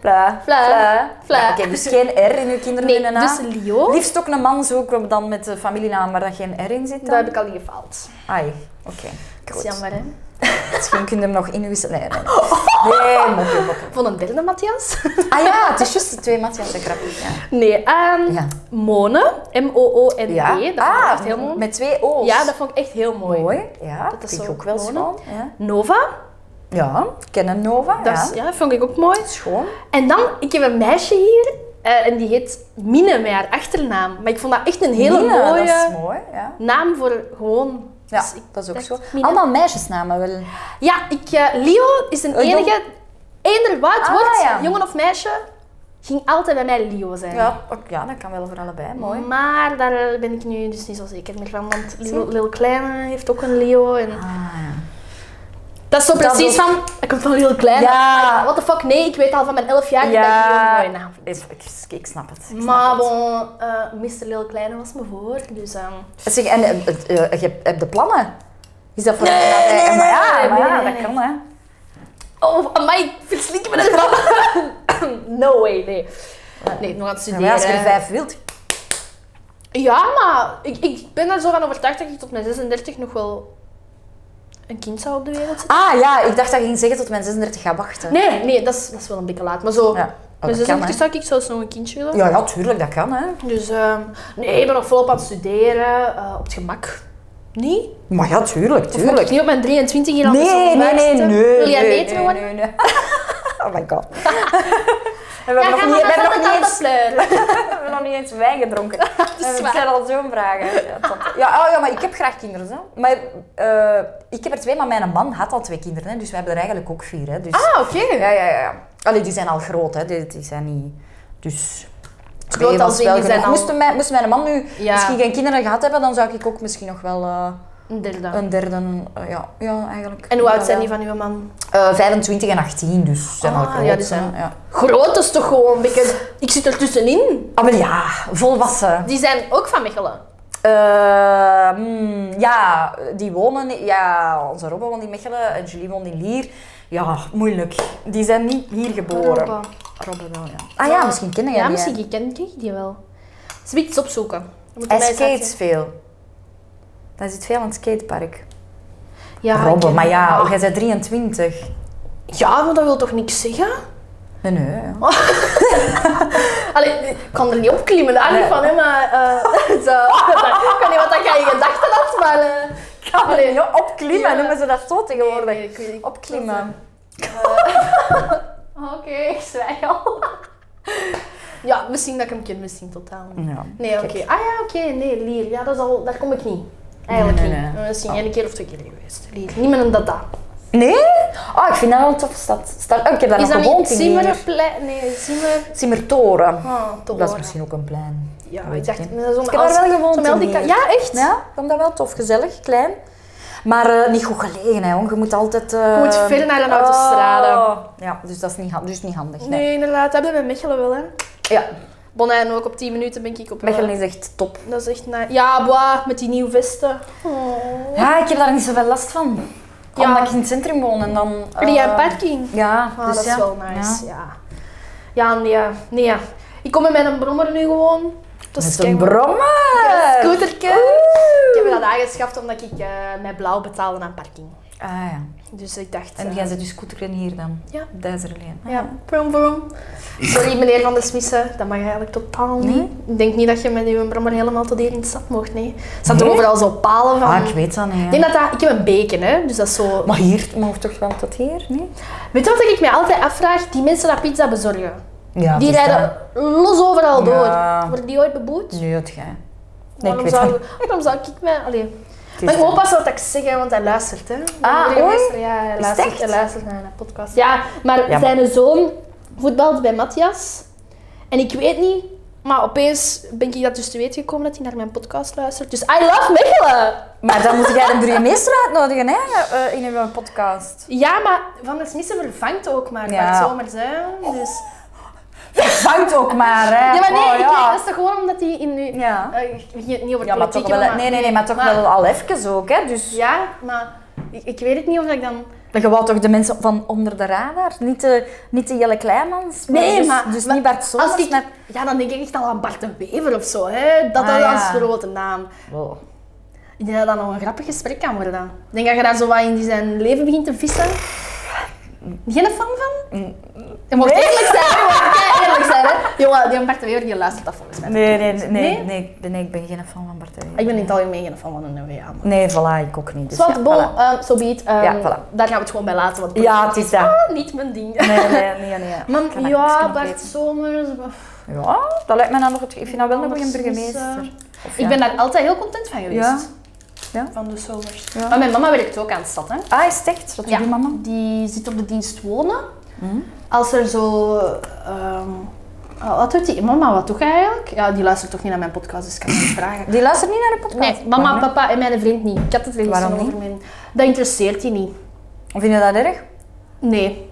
Pla,
Pla. Pla.
Ja, Oké, dus geen R in uw kinderen
Nee,
hun naam.
dus Leo,
Liefst ook een man zoeken dan met de familienaam waar dat geen R in zit.
daar
Dan.
heb ik al niet gefaald.
Ai, oké.
Dat
Goed.
is jammer, hè.
Misschien kun je hem nog inwisselen.
[laughs]
Nee, nee. nee mopje, mopje.
Van een derde, Matthias? [laughs]
Ah ja, het is juist de twee Matthias de krap. Ja.
Nee, ehm
Ja.
Mone, M-O-O-N-E,
Ja.
E, dat
ah,
vond ik echt heel mooi.
met twee O's.
Ja, dat vond ik echt heel mooi.
mooi. Ja, dat
Dat is
vind ik
zo
ook wel
mono.
schoon. Ja,
Nova,
ja kennen Nova.
dat is-
ja.
ja, dat vond ik ook mooi.
Schoon.
En dan, ik heb een meisje hier eh, en die heet Mine met haar achternaam. Maar ik vond dat echt een hele
Nina,
mooie
Dat is mooi, ja.
naam voor gewoon.
Ja,
Dus ik
dat is ook
dacht,
zo.
Mine.
Allemaal meisjesnamen wel.
Ja, ik, eh, Leo is een
Eh, jong-
enige. Eender wat het
Ah,
wordt,
ja.
jongen of meisje, ging altijd bij mij Leo zijn.
Ja, ook- ja, dat kan wel voor allebei. Mooi.
Maar daar ben ik nu dus niet zo zeker meer van, want Lil, Lil Kleine heeft ook een Leo. En...
Ah,
Dat is zo precies
ook.
van, ik kom van Lil Kleine.
Ja.
Maar What the fuck, nee, ik weet al van mijn 11 jaar dat ik Leo een mooie naam vind.
Ik, ik- ik snap het. Ik
Maar
snap het.
bon, eh, Mr. Lil Kleine was me voor, dus... ehm,
Zeg, en eh, eh, eh, je hebt- heb de plannen? Is dat voor
Nee,
eh,
nee,
maar
nee,
ja,
nee,
maar ja,
nee,
dat
nee.
kan hè.
Oh, amai, ik verslink me [laughs] een grap. [coughs] no way, nee. Nee, nog aan het
Ja,
studeren.
maar als je er vijf wilt.
Ja, maar ik, ik ben er zo van overtuigd dat ik tot mijn 36 nog wel een kind zou op de wereld zetten.
Ah ja, ik dacht dat je ging zeggen tot mijn 36 gaat wachten.
Nee, nee, dat is, dat is wel een beetje laat. Maar zo,
Ja, oh, dat kan,
mijn 36
hè.
zou ik zelfs nog een kindje willen.
Ja, ja, tuurlijk, dat kan hè.
Dus ehm, nee, ik ben nog volop aan het studeren, eh, op het gemak. Niet?
Maar ja, tuurlijk,
Of moet ik
tuurlijk.
niet op mijn 23 hier al met
Nee, nee,
zo'n
nee,
buik
nee,
zitten?
nee.
Wil jij
nee,
beter
nee,
worden?
nee, [laughs] nee. Oh my [laughs] god. we hebben
Ja,
nog
ga
niet,
maar
we hebben
van
nog niet eens... [laughs]
de tandenpleur.
We hebben nog niet eens wijn
[laughs]
gedronken.
waar.
Dat zijn al zo'n vragen. Ja, tot- Ja, oh ja, maar ik heb graag kinderen. Hè. Maar eh, ik heb er twee, maar mijn man had al twee kinderen. Hè, dus we hebben er eigenlijk ook vier. Hè, dus,
Ah, oké.
Ja, ja, ja. ja. Allee, die zijn al groot, hè. Die, die zijn niet... Dus... twee
Groot als
was
in,
wel
die zijn
genoeg.
al-
Moesten mijn, moest mijn man nu
Ja.
misschien geen kinderen gehad hebben, dan zou ik ook misschien nog wel eh,
Een derde.
een derde... eh, ja, ja, eigenlijk.
En hoe
Ja,
oud zijn
wel.
die van uw man?
Eh, 25 en 18, dus ze zijn
Ah,
al groot.
ja, die
hè.
zijn-
Ja.
Groot is toch gewoon een beetje... Ik zit er tussenin.
Ah, maar ja, volwassen.
Die zijn ook van Mechelen.
Eh, mm, ja, die wonen... in- Ja, onze Robbe woont in Mechelen en Julie woont in Lier. Ja, moeilijk. Die zijn niet hier geboren.
Robbe.
Robbe wel, ja. Ah ja, misschien kennen jij
Ja,
die, hè.
misschien ken ik die wel. Ze moet iets opzoeken. Dan moet
Hij
erbij
skate
zetten.
veel. Hij zit veel aan het skatepark.
Ja, ik
Robbe,
ken Ah.
maar
die.
ja, jij bent 23.
Ja, maar dat wil toch niks zeggen?
Nee, nee. ja.
Oh, Allee, ik kan er niet op klimmen, daar niet van, hè, maar... eh, [laughs] zo. ik weet niet wat dat jij in gedachten had, maar... eh, allee,
Ja, opklimmen,
Ja.
noemen ze dat zo tegenwoordig.
nee, ik weet niet.
Opklimmen.
Oh, Oké, ik zwijg al. [laughs] ja, misschien dat ik hem ken, misschien totaal niet.
Ja.
Nee, oké. Ah ja, oké. Nee, Lier. Ja, dat is al, daar kom ik niet. Eigenlijk
Nee, nee,
niet. Eh,
nee. Ah.
Misschien één keer of twee keer geweest. Lier. Niet met een data.
Nee? Oh, ik vind dat wel een toffe stad. stad. Oh, ik heb daar
Is
nog
dat
gewoond
niet
in Lier.
Simmerplein? Nee, Simmer...
Simmertoren.
Ah, te
Oh, Dat is
horen.
misschien ook een plein.
Ja,
Dat
ik
weet
dacht...
niet.
maar dat is
Ik heb daar wel gewoond in Lier.
Ja, echt?
Ja, ik vond dat wel tof. Gezellig, klein. Maar eh, niet goed gelegen, hè, jong. Je moet altijd... eh,
Je moet ver naar de autostrade.
Oh. Ja, dus dat is niet, ha- dus niet handig. Nee.
Nee, inderdaad. Dat hebben we met Mechelen wel, hè.
Ja,
Bonaire ook op 10 minuten ben ik op... eh,
Mechelen is echt top.
Dat is echt nice. Ja, boah, met die nieuwe vesten. Oh.
Ja, Ah, ik heb daar niet zoveel last van.
Ja.
Omdat ik in het centrum woon en dan... eh,
Heb jij een parking?
Ja,
Ah,
dus
dat
ja.
is wel nice, ja. Ja, nee, ja. nee. ja. Ik kom met mijn brommer nu gewoon. Dat
Met een
keigoed.
brommer!
Ja, scooterke.
Oeh.
Ik heb me dat aangeschaft omdat ik eh mij blauw betaalde aan parking.
Ah ja.
Dus ik dacht...
En
eh,
jij zit dus scooteren hier dan?
Ja.
Op Duizerleen.
Ja, brom, brom. Sorry, meneer Van der Smissen, dat mag eigenlijk totaal niet.
Nee?
Ik denk niet dat je met uw brommer helemaal tot hier in de stad mocht, nee. Er zaten
Nee?
overal zo palen van...
Ah, ik weet dat niet.
Ik denk dat dat... Ik heb een beken, hè. Dus dat is zo...
Maar hier mag toch wel tot hier, nee?
Weet je wat ik mij altijd afvraag? Die mensen dat pizza bezorgen.
Ja, dus
die
het is
rijden los overal
Ja.
door. Worden die ooit beboet?
dat. Nu het gij. Nee, ik
waarom,
weet
zou,
dat.
waarom zou ik mij... Allee.
Het is
Maar
dat.
ik moet oppassen wat ik zeg, hè, want hij luistert. Hè. Mijn
Ah,
andere
oei.
meester, Ja, hij
het
luistert,
echt?
hij luistert naar een podcast. Ja, maar
Ja, maar-
zijn zoon voetbalt bij Matthias. En ik weet niet, maar opeens ben ik dat dus te weten gekomen dat hij naar mijn podcast luistert. Dus I love Mechelen!
Maar dan moet jij een drie meester uitnodigen, hè? eh, in uw podcast.
Ja, maar Van der Smissen vervangt ook maar
Ja.
Bart Zomers. Hè. Dus
Vangt ook maar, hè.
Ja, maar nee,
Oh,
ik kijk, dat is toch gewoon omdat hij in nu...
Ja.
Eh, ik begin niet over
Ja, maar
politiek,
toch wel,
hè, maar-
nee, nee, nee, maar toch wel al even ook, hè. Dus
Ja, maar ik, ik weet het niet of dat ik dan...
je wou toch de mensen van onder de radar? Niet de, niet de Jelle Kleinmans? maar
Nee,
dus,
maar-
Dus
maar
niet Bart Somers,
Als ik,
maar...
Ja, dan denk ik echt al aan Bart de Wever of zo. Hè? Dat
Ah,
dat
ja.
als grote naam. Ik denk dat dat nog een grappig gesprek kan worden. Ik denk dat je daar zo wat in die zijn leven begint te vissen. Geen fan van? Je mag eerlijk zijn, je mag eerlijk zijn. Hè? [laughs] Jongen, die Bart de Wever die luistert dat volgens mij.
Nee, nee, nee, nee,
Nee?
ik ben- nee, ik ben geen fan van Bart de Wever.
Ik ben in het algemeen geen fan van een NVA. Maar...
Nee, voilà, ik ook niet. Dus
Zwart,
ja,
bon,
voilà.
ehm, zo biedt.
Ja, voilà.
Daar gaan we het gewoon bij laten. Want
Ja, het is dat.
Ah, niet mijn
[laughs]
ding.
Nee, nee, nee, nee. Ik kan
Man,
dat- ik
ja,
kan dat
Bart
weten.
Somers.
Ja, dat lijkt me dan nog... het- Ik vind dat wel nog een
Anders
goede
is, eh,
burgemeester. Of ja.
Ik ben daar altijd heel content van geweest.
Ja. Ja.
Van de zomers.
Ja.
Maar mijn mama werkt ook aan de stad, hè?
Ah, is het echt? Wat doet die mama?
Die Hmm? zit op de dienst wonen. Als er zo. ehm, ah, wat doet die? Mama, wat doe jij eigenlijk? Ja, die luistert toch niet naar mijn podcast, dus ik kan [laughs] niet vragen.
Die luistert niet naar de podcast?
Nee, mama,
Waarom niet?
papa en mijn vriend niet. Ik had het er gisteren
Waarom
over. Mijn... Dat interesseert die niet.
Vind je dat erg?
Nee.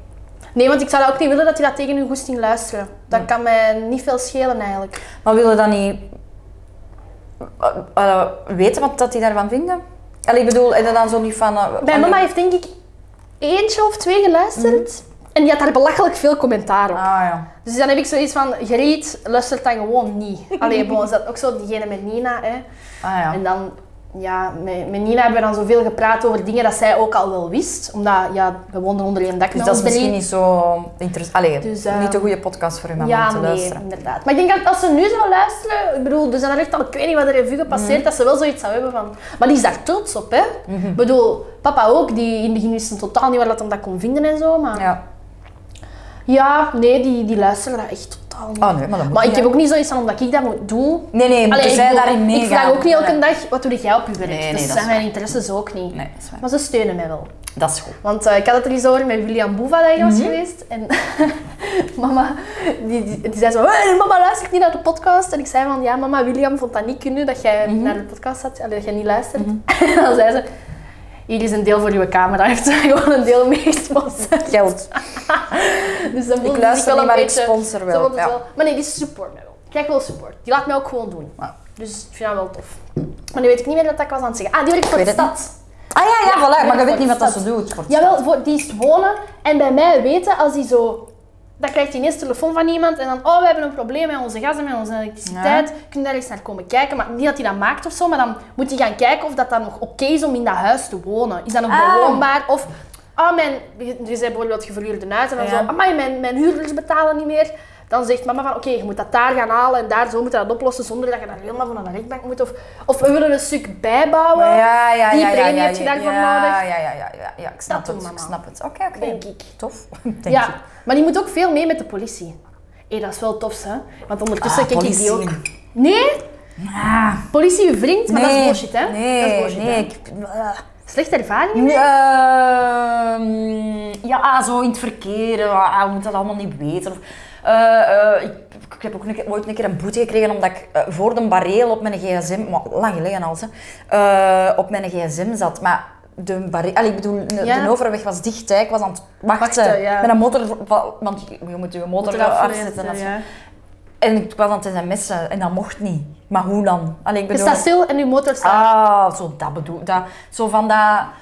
Nee, want ik zou dat ook niet willen dat die dat tegen hun goesting luisteren. Dat kan mij niet veel schelen eigenlijk.
Maar wil je dan niet eh, eh, weten wat dat die daarvan vinden? Allee, ik bedoel, en dan zo niet van... eh,
Mijn
allee-
mama heeft denk ik eentje of twee geluisterd. En die had daar belachelijk veel commentaar op.
Ah ja.
Dus dan heb ik zoiets van, Griet, luistert dan gewoon
[laughs]
niet. Allee, bon, is dat ook zo diegene met Nina, hè.
Ah ja.
En dan, ja, met, met Nina hebben we dan zoveel gepraat over dingen dat zij ook al wel wist. Omdat, ja, we woonden onder één dak
Dus
met
dat is
ons
misschien
drie.
niet zo interessant. Allee,
Dus, eh,
niet een goede podcast voor je mama om
Ja,
te
nee,
luisteren.
inderdaad. Maar ik denk dat als ze nu zou luisteren, ik bedoel, dus dan heeft al, ik weet niet wat er revue
Mhm.
gepasseerd, dat ze wel zoiets zou hebben van... Maar die is daar trots op, hè. Ik bedoel, papa ook, die in het begin wist totaal niet waar dat hem dat kon vinden en zo, maar...
Ja.
Ja, nee, die, die luisteren daar echt totaal niet.
Oh nee, maar dat moet
Maar ik
niet,
heb
hè.
ook niet zoiets van omdat ik dat moet doen.
Nee, nee, moeten
Allee,
zij
bedoel,
daarin meegaan.
Ik vraag ook niet elke
Ja.
dag, wat doe jij op je werk?
Nee, nee,
dus
dat is
zijn mijn
waar.
interesses ook niet.
Nee, dat is waar.
Maar ze steunen mij wel.
Dat
[laughs]
is goed.
Want eh, ik had het er eens over met William Boeva dat hier
Mhm.
was geweest. En [laughs] mama, die, die, die zei zo, "Hey, mama luistert niet naar de podcast. En ik zei van, ja mama, William vond dat niet kunnen dat jij
Mhm.
naar de podcast zat, allee, dat jij niet luistert. [laughs] En dan zei ze, hier is een deel voor uw camera. [laughs] Hij heeft gewoon een deel
[laughs]
[laughs] meegesponsord.
Geld.
[laughs] Dus dan voelde
luister
ze zich wel
niet,
een
maar ik
beetje-
sponsor wel,
ze vond het
ja.
Maar nee, die support mij wel. Ik krijg wel support. Die laat mij ook gewoon doen.
Ja.
Dus ik vind dat wel tof. Maar nu weet ik niet meer wat ik was aan het zeggen. Ah, die werkt voor
Ik
de
weet het
stad.
Ah ja, ja, voilà. Maar je
voor
weet
de
niet wat dat zo
stad.
doet. voor het
Jawel, voor, die is wonen. En bij mij weten, als die zo... Dan krijgt hij ineens telefoon van iemand en dan... Oh, we hebben een probleem met onze gas en met onze elektriciteit. Kun je daar eens naar komen kijken? Maar niet dat hij dat maakt of zo, maar dan moet hij gaan kijken of dat dan nog oké is om in dat huis te wonen. Is dat nog
Ah.
bewoonbaar? Of... Oh, mijn... Je je zei bijvoorbeeld, je verhuurde een huis en dan
Ja.
zo... Amai, mijn, mijn huurders betalen niet meer. Dan zegt mama van, oké, je moet dat daar gaan halen en daar zo moet je dat oplossen zonder dat je daar helemaal van aan de rechtbank moet. Of, of we willen een stuk bijbouwen.
Ja, ja,
Die
ja, ja,
premie
ja,
heb je
ja,
daarvoor
ja,
nodig.
Ja, ja, ja, ja, ja, ik snap
Dat doen
het, ik
mama.
snap het. Oké, oké.
Denk ik.
Tof, [laughs] denk
ja,
ik.
maar die moet ook veel mee met de politie. Hé, dat is wel tof, hè? Want ondertussen
Ah,
kijk
politie.
ik die ook. Nee,
Ah,
politie je vriend, maar dat is bullshit, hè?
Nee,
dat is bullshit,
nee.
hè?
Ik, eh,
Slechte ervaringen?
Ehm, ja, zo in het verkeer. ah, we moeten dat allemaal niet weten. Of, eh, eh, ik, ik heb ook een keer- ooit een keer een boete gekregen omdat ik eh, voor de bareel op mijn gsm, maar lang geleden al, hè, eh, op mijn gsm zat. Maar de bareel, allee, ik bedoel, de,
Ja.
de overweg was dicht. Hè. Ik was aan het wachten,
Wachten, ja.
met een motor, va- want je, je moet je motor,
Moet eraf
afzetten.
weten,
als-
ja.
En ik was aan het sms'en en dat mocht niet. Maar hoe dan? Allee, ik
Je
bedoel,
staat stil en je motor staat.
Ah, zo dat bedoel dat, Zo van dat...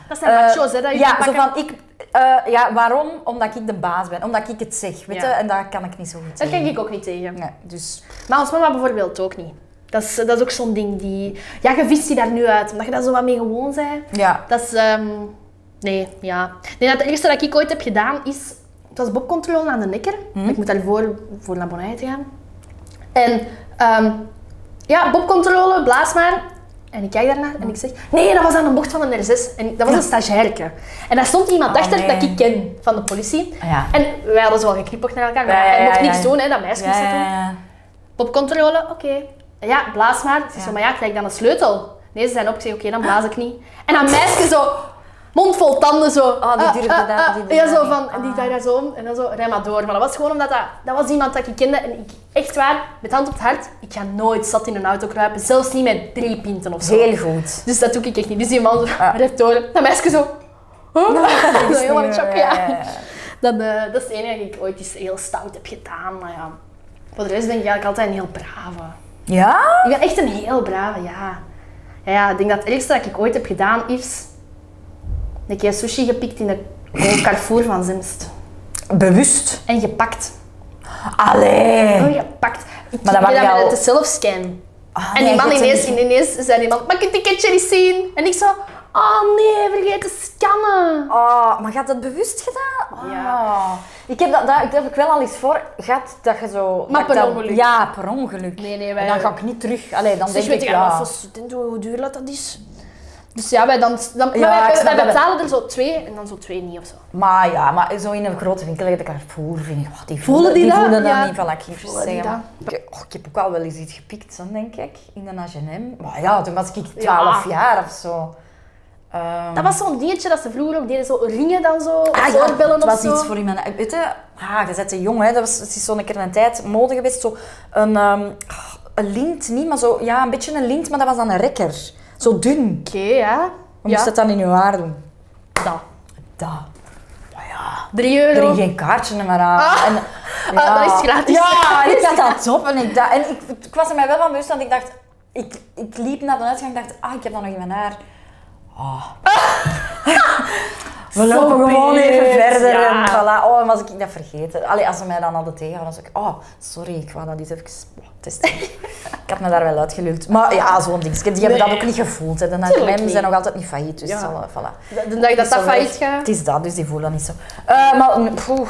Dat zijn
eh,
machos, hè, dat je
Ja,
moet
zo
pakken.
van ik... eh, ja, waarom? Omdat ik de baas ben. Omdat ik het zeg, weet
Ja.
je? En daar kan ik niet zo goed
Daar kijk
tegen.
ik ook niet tegen.
Nee, dus...
Maar ons mama bijvoorbeeld ook niet. Dat is, dat is ook zo'n ding die... Ja, je vist die daar nu uit, omdat je daar zo wat mee gewoon bent.
Ja.
Dat is... ehm, nee, ja. Nee, dat het eerste dat ik ooit heb gedaan is... Het was bobcontrole aan de Nekker.
Hm?
Ik moet daarvoor voor naar Bonaire te gaan. En... ehm, ja, bobcontrole, blaas maar. En ik kijk daarnaar en ik zeg... Nee, dat was aan de bocht van een R6. En dat was een stagiairke. En daar stond iemand
Oh,
achter
nee.
dat ik ken van de politie.
Ah, ja.
En wij hadden zo wel geknipoogd naar elkaar. Maar
Ja, ja,
hij mocht
ja, ja,
niks
ja.
doen, hè, dat meisje
Ja,
moest dat
ja,
doen.
ja.
Popcontrole, oké. Ja, blaas maar. Ze zei zo,
Ja.
maar ja, krijg ik dan een sleutel? Nee, ze zijn op. Ik zei, oké, dan blaas ik niet. En dat meisje zo, mond vol tanden zo.
Ah, die
"Ah,
durfde dat-
ah, ah."
die durfde
Ja,
dat
zo van,
niet.
en die
Ah.
deed daar zo om. En dan zo, rij maar door. Maar dat was gewoon omdat dat, dat was iemand dat ik kende. En ik, echt waar, met hand op het hart, ik ga nooit zat in een auto kruipen. Zelfs niet met drie pinten of zo.
Heel goed.
Dus dat doe ik echt niet. Dus die man zo,
Ah.
recht door. Dat meisje zo, huh? [laughs]
Dat is
helemaal in
niet-
shock,
ja,
ja.
ja, ja.
Dat, eh, dat is het enige dat ik ooit eens heel stout heb gedaan. Maar ja, Voor de rest ben ik eigenlijk altijd een heel brave.
Ja?
Ik ben echt een heel brave, ja. Ja, ja ik denk dat het ergste dat ik ooit heb gedaan is... Een keer sushi gepikt in de Carrefour van Zemst.
Bewust.
En gepakt.
Allee.
Oh, gepakt. Ik
Maar dat
deed
mag je
dat
al-
met de zelfscan.
Ah,
en
nee,
die man
je hebt
ineens,
hem niet-
ineens zei die man, mag ik het ticketje niet zien? En ik zo, oh nee, vergeet te scannen.
Oh, maar gaat dat bewust gedaan? Oh.
Ja.
Ik heb dat, dat, dat heb ik wel al eens voor gehad, dat je zo... dat
Maar
ik
per
dan-
ongeluk.
Ja, per ongeluk.
Nee, nee, wij-
En dan ga ik niet terug. Allee, dan
Dus
denk
weet
ik,
je
ja...
als student hoe duur dat dat is? Dus ja, wij, dan, dan, maar
Ja,
wij-
ik
wij,
snap
wij
dat.
betalen er zo twee en dan zo twee niet of zo.
Maar ja, maar zo in een grote winkel, like de Carrefour, vind ik, oh, die
Voelen die dat?
voelen dat
Ja.
niet van, laat ik even
Voelen die
zeggen. Ik, oh, ik heb ook al wel eens iets gepikt, zo, denk ik, in de H&M. Maar ja, toen was ik 12
Ja.
jaar of zo. Ehm,
Dat was zo'n dingetje dat ze vroeger ook deden, zo ringen dan zo,
ah, ja,
oorbellen
het
of
was
zo.
iets voor in mijn... Weet je, ah, je bent een jong, hè. Dat was, het is zo'n keer een tijd mode geweest. Zo een, ehm, een lint, niet, maar zo... Ja, een beetje een lint, maar dat was dan een rekker. Zo dun.
Oké, ja.
Je moest
ja.
dat dan in je haar doen.
Dat.
Dat.
Drie euro.
Er ging geen kaartje meer aan. En,
Ah, dat is gratis.
Ja, en ik had dat op. En ik, da- en ik, ik was er mij wel van bewust, want ik dacht... Ik, ik liep naar de uitgang en dacht, ah, ik heb dat nog in mijn haar.
[laughs]
Ah. We
Zo
lopen gewoon
beet,
even verder
ja.
en voilà. Oh, en was ik dat vergeten. Allee, als ze mij dan hadden tegengehouden, was ik... Oh, sorry, ik wou dat iets even testen. ik had me daar wel uitgeluld. Maar ja, zo'n ding. Die hebben dat
Nee.
ook niet gevoeld. Hè. De
Tuurlijk
H&M
niet.
zijn nog altijd niet failliet, dus
Ja.
zal, eh, voilà.
De- De dag dat dat failliet gaat.
Het is dat, dus die voelen dat niet zo. Eh, maar, poeh,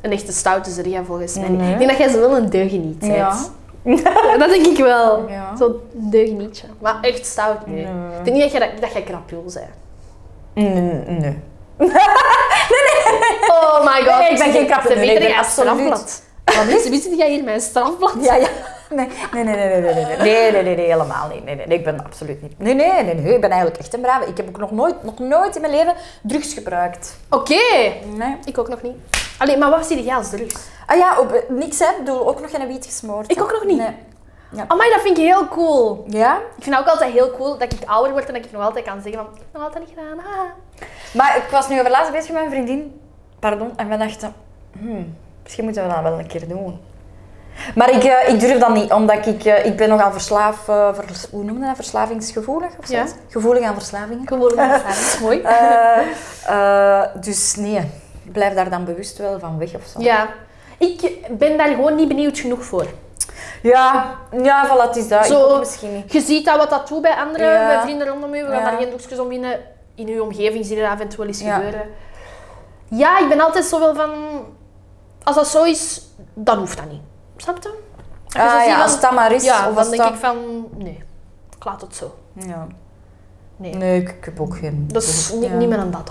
Een echte stout is er ja, volgens mij. niet.
Nee.
Ik denk dat jij ze wel een deugeniet bent.
Ja. [laughs]
Ja, dat denk ik wel.
Ja.
Zo'n deugenietje. Maar echt stout, nee. Ik denk niet dat jij, dat, dat jij krapjool bent.
Nee, nee.
Oh my god.
Nee, ik ben geen kapitein.
Ze
Ik
weten
ben
jij
absoluut-
strafblad. Wat is Wisten jij hier mijn strafblad?
Ja, ja. Nee, nee, nee, nee, nee, nee, nee, nee, nee, nee, nee, helemaal niet. Nee, nee, nee, ik ben absoluut niet. Nee, nee, nee, nee, ik ben eigenlijk echt een brave. Ik heb ook nog nooit, nog nooit in mijn leven drugs gebruikt.
Oké.
Nee.
Ik ook nog niet. Allee, maar wat zie jij als drugs?
Ah ja, op, eh, niks hè, Ik bedoel, ook nog geen wiet gesmoord.
Ik ook nog niet.
Nee.
Amai, dat vind ik heel cool.
Ja,
Ik vind dat ook altijd heel cool dat ik ouder word en dat ik nog altijd kan zeggen van, ik heb nog altijd niet gedaan. haha.
maar ik was nu over laatst bezig met mijn vriendin. Pardon, en we dachten, hmm, misschien moeten we dat wel een keer doen. Maar ik, eh, ik durf dat niet, omdat ik, eh, ik ben nogal verslaafd, eh, vers- hoe noem je dat, verslavingsgevoelig of zo?
Ja.
Gevoelig aan verslavingen.
Gewoon dat is mooi.
Eh, eh, dus nee, blijf daar dan bewust wel van weg of zo.
Ja. Ik ben daar gewoon niet benieuwd genoeg voor.
ja, ja voilà, het is dat.
Zo-
Ah, Ik ook misschien niet.
Je ziet dat wat dat doet bij anderen,
Ja.
bij vrienden rondom u. We gaan
Ja.
daar geen doekjes om binnen. In uw omgeving zien er af en toe wel eens
Ja.
gebeuren. Ja, ik ben altijd zo wel van... Als dat zo is, dan hoeft dat niet. Snap je? je zo
Ah,
ziet
ja,
van-
als het dat maar is.
ja,
of
dan
als
denk
dat-
ik van... Nee, ik laat het zo.
Ja.
Nee.
Nee, ik, ik heb ook geen...
Dat is ni-
Ja.
niet meer aan dat.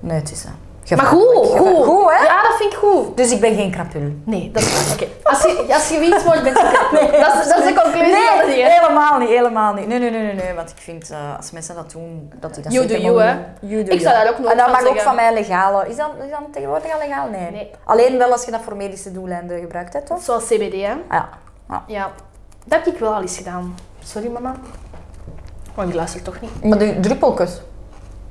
Nee, het is dat.
Maar
Gevaarlijk,
goed,
gevaarlijk.
goed.
Goed, hè?
Ja, dat vind ik goed.
Dus ik ben geen krapul.
Nee, dat is Oké. Als je, als je wiet wordt, ben je
[laughs]
kapot. dat, is, dat is de conclusie van het
Nee,
ding.
helemaal niet, helemaal niet. Nee, nee, nee, nee, nee. Want ik vind, eh, als mensen dat doen, dat die dat
You
zeker
do you,
mogen
hè?
doen. You do
Ik zou
you.
daar ook nooit
En dat
van
mag ook
zeggen.
van mij legaal. Is dat, is dat tegenwoordig al legaal? Nee.
Nee.
Alleen wel als je dat voor medische doeleinden gebruikt, hè, toch?
Zoals CBD, hè.
Ah, ja. Ja.
Ja, dat heb ik wel al eens gedaan. Sorry mama. Want ik luister toch niet.
Maar de druppelkus?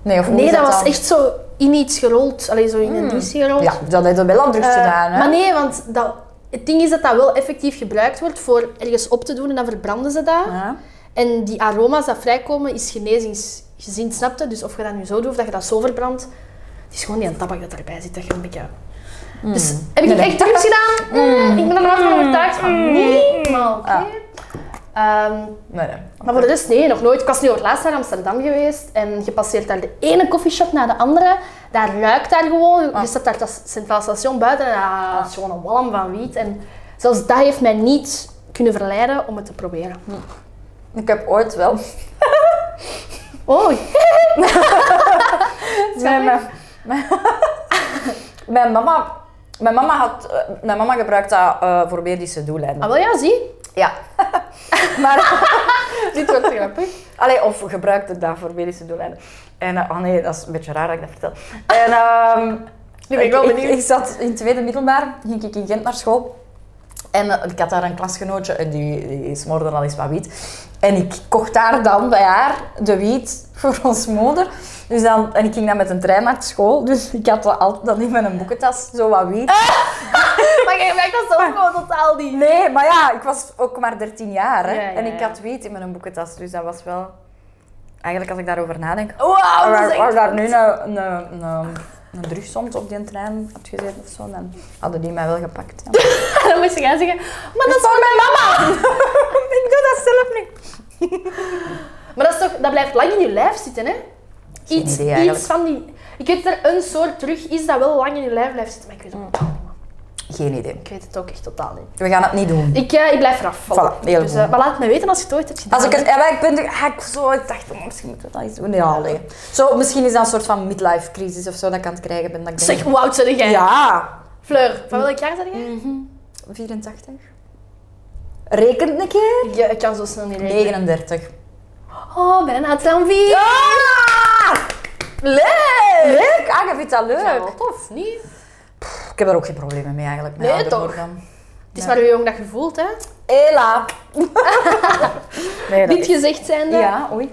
Nee, of hoe
Nee,
is
dat was
dan? Hmm.
echt zo in iets gerold. Alleen zo in een dienst gerold.
Ja, dat heeft wel al drugs
Eh,
gedaan, hè?
Maar nee, want dat, het ding is dat dat wel effectief gebruikt wordt voor ergens op te doen en dan verbranden ze dat.
Ja.
En die aroma's dat vrijkomen is genezingsgezind, snap je? Dus of je dat nu zo doet of dat je dat zo verbrandt, het is gewoon die tabak dat erbij zit, dat je een beetje...
Hmm.
Dus heb
Nee,
ik het
nee.
echt drugs gedaan?
Hmm.
Mm, Ik ben er wel van overtuigd van nee, maar oké. Ehm,
Nee, nee.
maar voor de rest, nee, nog nooit. Ik was nu voor het laatst naar Amsterdam geweest en je passeert daar de ene koffieshop na de andere. Daar ruikt daar gewoon. Je staat daar dat centraal station buiten en ah, het is gewoon een walm van wiet. En zelfs dat heeft mij niet kunnen verleiden om het te proberen.
Ik heb ooit wel...
[laughs] Oh, [laughs]
Nee, mijn, mijn, [laughs] mijn mama... Mijn mama, had, eh, mijn mama gebruikt dat eh, voor medische doeleinden.
ah, wel ja, zie.
Ja. [laughs] maar... [laughs]
Dit wordt grappig.
Allee, of gebruikte dat voor medische doeleinden. En... eh, oh nee, dat is een beetje raar dat ik dat vertel. En... ehm
Nu ben ik wel
ik,
benieuwd.
ik zat in het tweede middelbaar, ging ik in Gent naar school. En eh, ik had daar een klasgenootje en die, die smoorde al eens wat wiet. En ik kocht daar dan bij haar de wiet voor ons moeder. Dus dan, en ik ging dan met een trein naar school. Dus ik had dat altijd dan in mijn boekentas zo wat wiet.
Maar jij merkt dat zelf gewoon totaal niet.
Nee, maar ja, ik was ook maar 13 jaar. Hè?
Ja, ja,
En ik
ja.
had wiet in mijn boekentas. Dus dat was wel. Eigenlijk, als ik daarover nadenk.
Wauw, Oh, dat
Waar,
is
waar
echt [laughs]
daar nu een, een, een, een drug soms op die trein had gezeten of zo, dan hadden die mij wel gepakt.
[laughs]
Ja.
Dan moest jij zeggen, maar dat is,
voor mijn mama! [laughs] ik doe dat zelf niet.
maar dat, is toch, dat blijft lang in je lijf zitten, hè?
Geen
Iets,
idee eigenlijk.
iets van die... Ik weet dat er een soort terug is dat wel lang in je lijf blijft zitten, maar ik weet het ook totaal niet. man.
Geen idee.
Ik weet het ook echt totaal niet.
We gaan het niet doen.
Ik, eh, ik blijf eraf vallen.
Voilà, heel
dus,
goed.
eh, maar laat het me weten als je het ooit hebt gedaan.
Als ik het, ja, maar ik ben er- ah, ik zo, ik dacht, oh, misschien moeten we dat eens doen. Ja, nee. Zo, misschien is dat een soort van midlife crisis of zo dat ik aan het krijgen ben. Dat ik denk,
Zeg, hoe oud ben jij?
ja,
Fleur, van welk jaar ben jij?
84. Mhm. Rekent een keer?
Ja, ik kan zo snel niet rekenen.
39.
Oh, bijna het zijn vier.
Leuk! Leuk! Ah, je vindt dat leuk?
Ja, wel tof, niet?
Ik heb daar ook geen problemen mee eigenlijk. met
Nee,
ouder
toch?
worden.
Het is maar hoe jong dat je voelt, hè? [laughs]
Ela. nee, dat
Dit gezegd zijnde,
Ja, oei.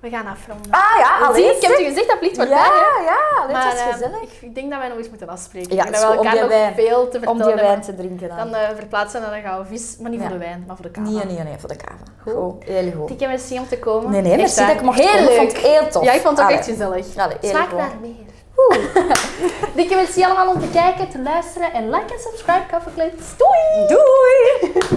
we gaan afronden.
Ah ja,
Zie,
alleen.
ik heb je gezegd, dat vliegt
Ja,
voorbij, hè?
ja, dit
Maar
was
eh,
gezellig.
ik, ik denk dat wij nog eens moeten afspreken.
Ja,
Ik denk
is
dat we
goed, om
elkaar
die
nog
wijn-
veel te
Om
vertellen
die wijn
hebben.
te drinken dan.
Dan eh, verplaatsen naar een gouden vis. Maar niet voor de wijn, maar voor de kava.
Nee, nee, nee, voor de kava.
Goed.
Goed, heel goed.
Dikke merci om te komen.
Nee, nee,
Echt
merci
waar.
dat ik mocht
Heel
komen.
leuk.
Vond ik heel tof.
Ja, ik vond het ook
Allee.
echt gezellig.
Allee, eerlijk
Smaak
waar.
naar meer. [laughs] Dikke merci allemaal om te kijken, te luisteren en like en subscribe, Kaffeekleed. Doei!
[laughs] Doei!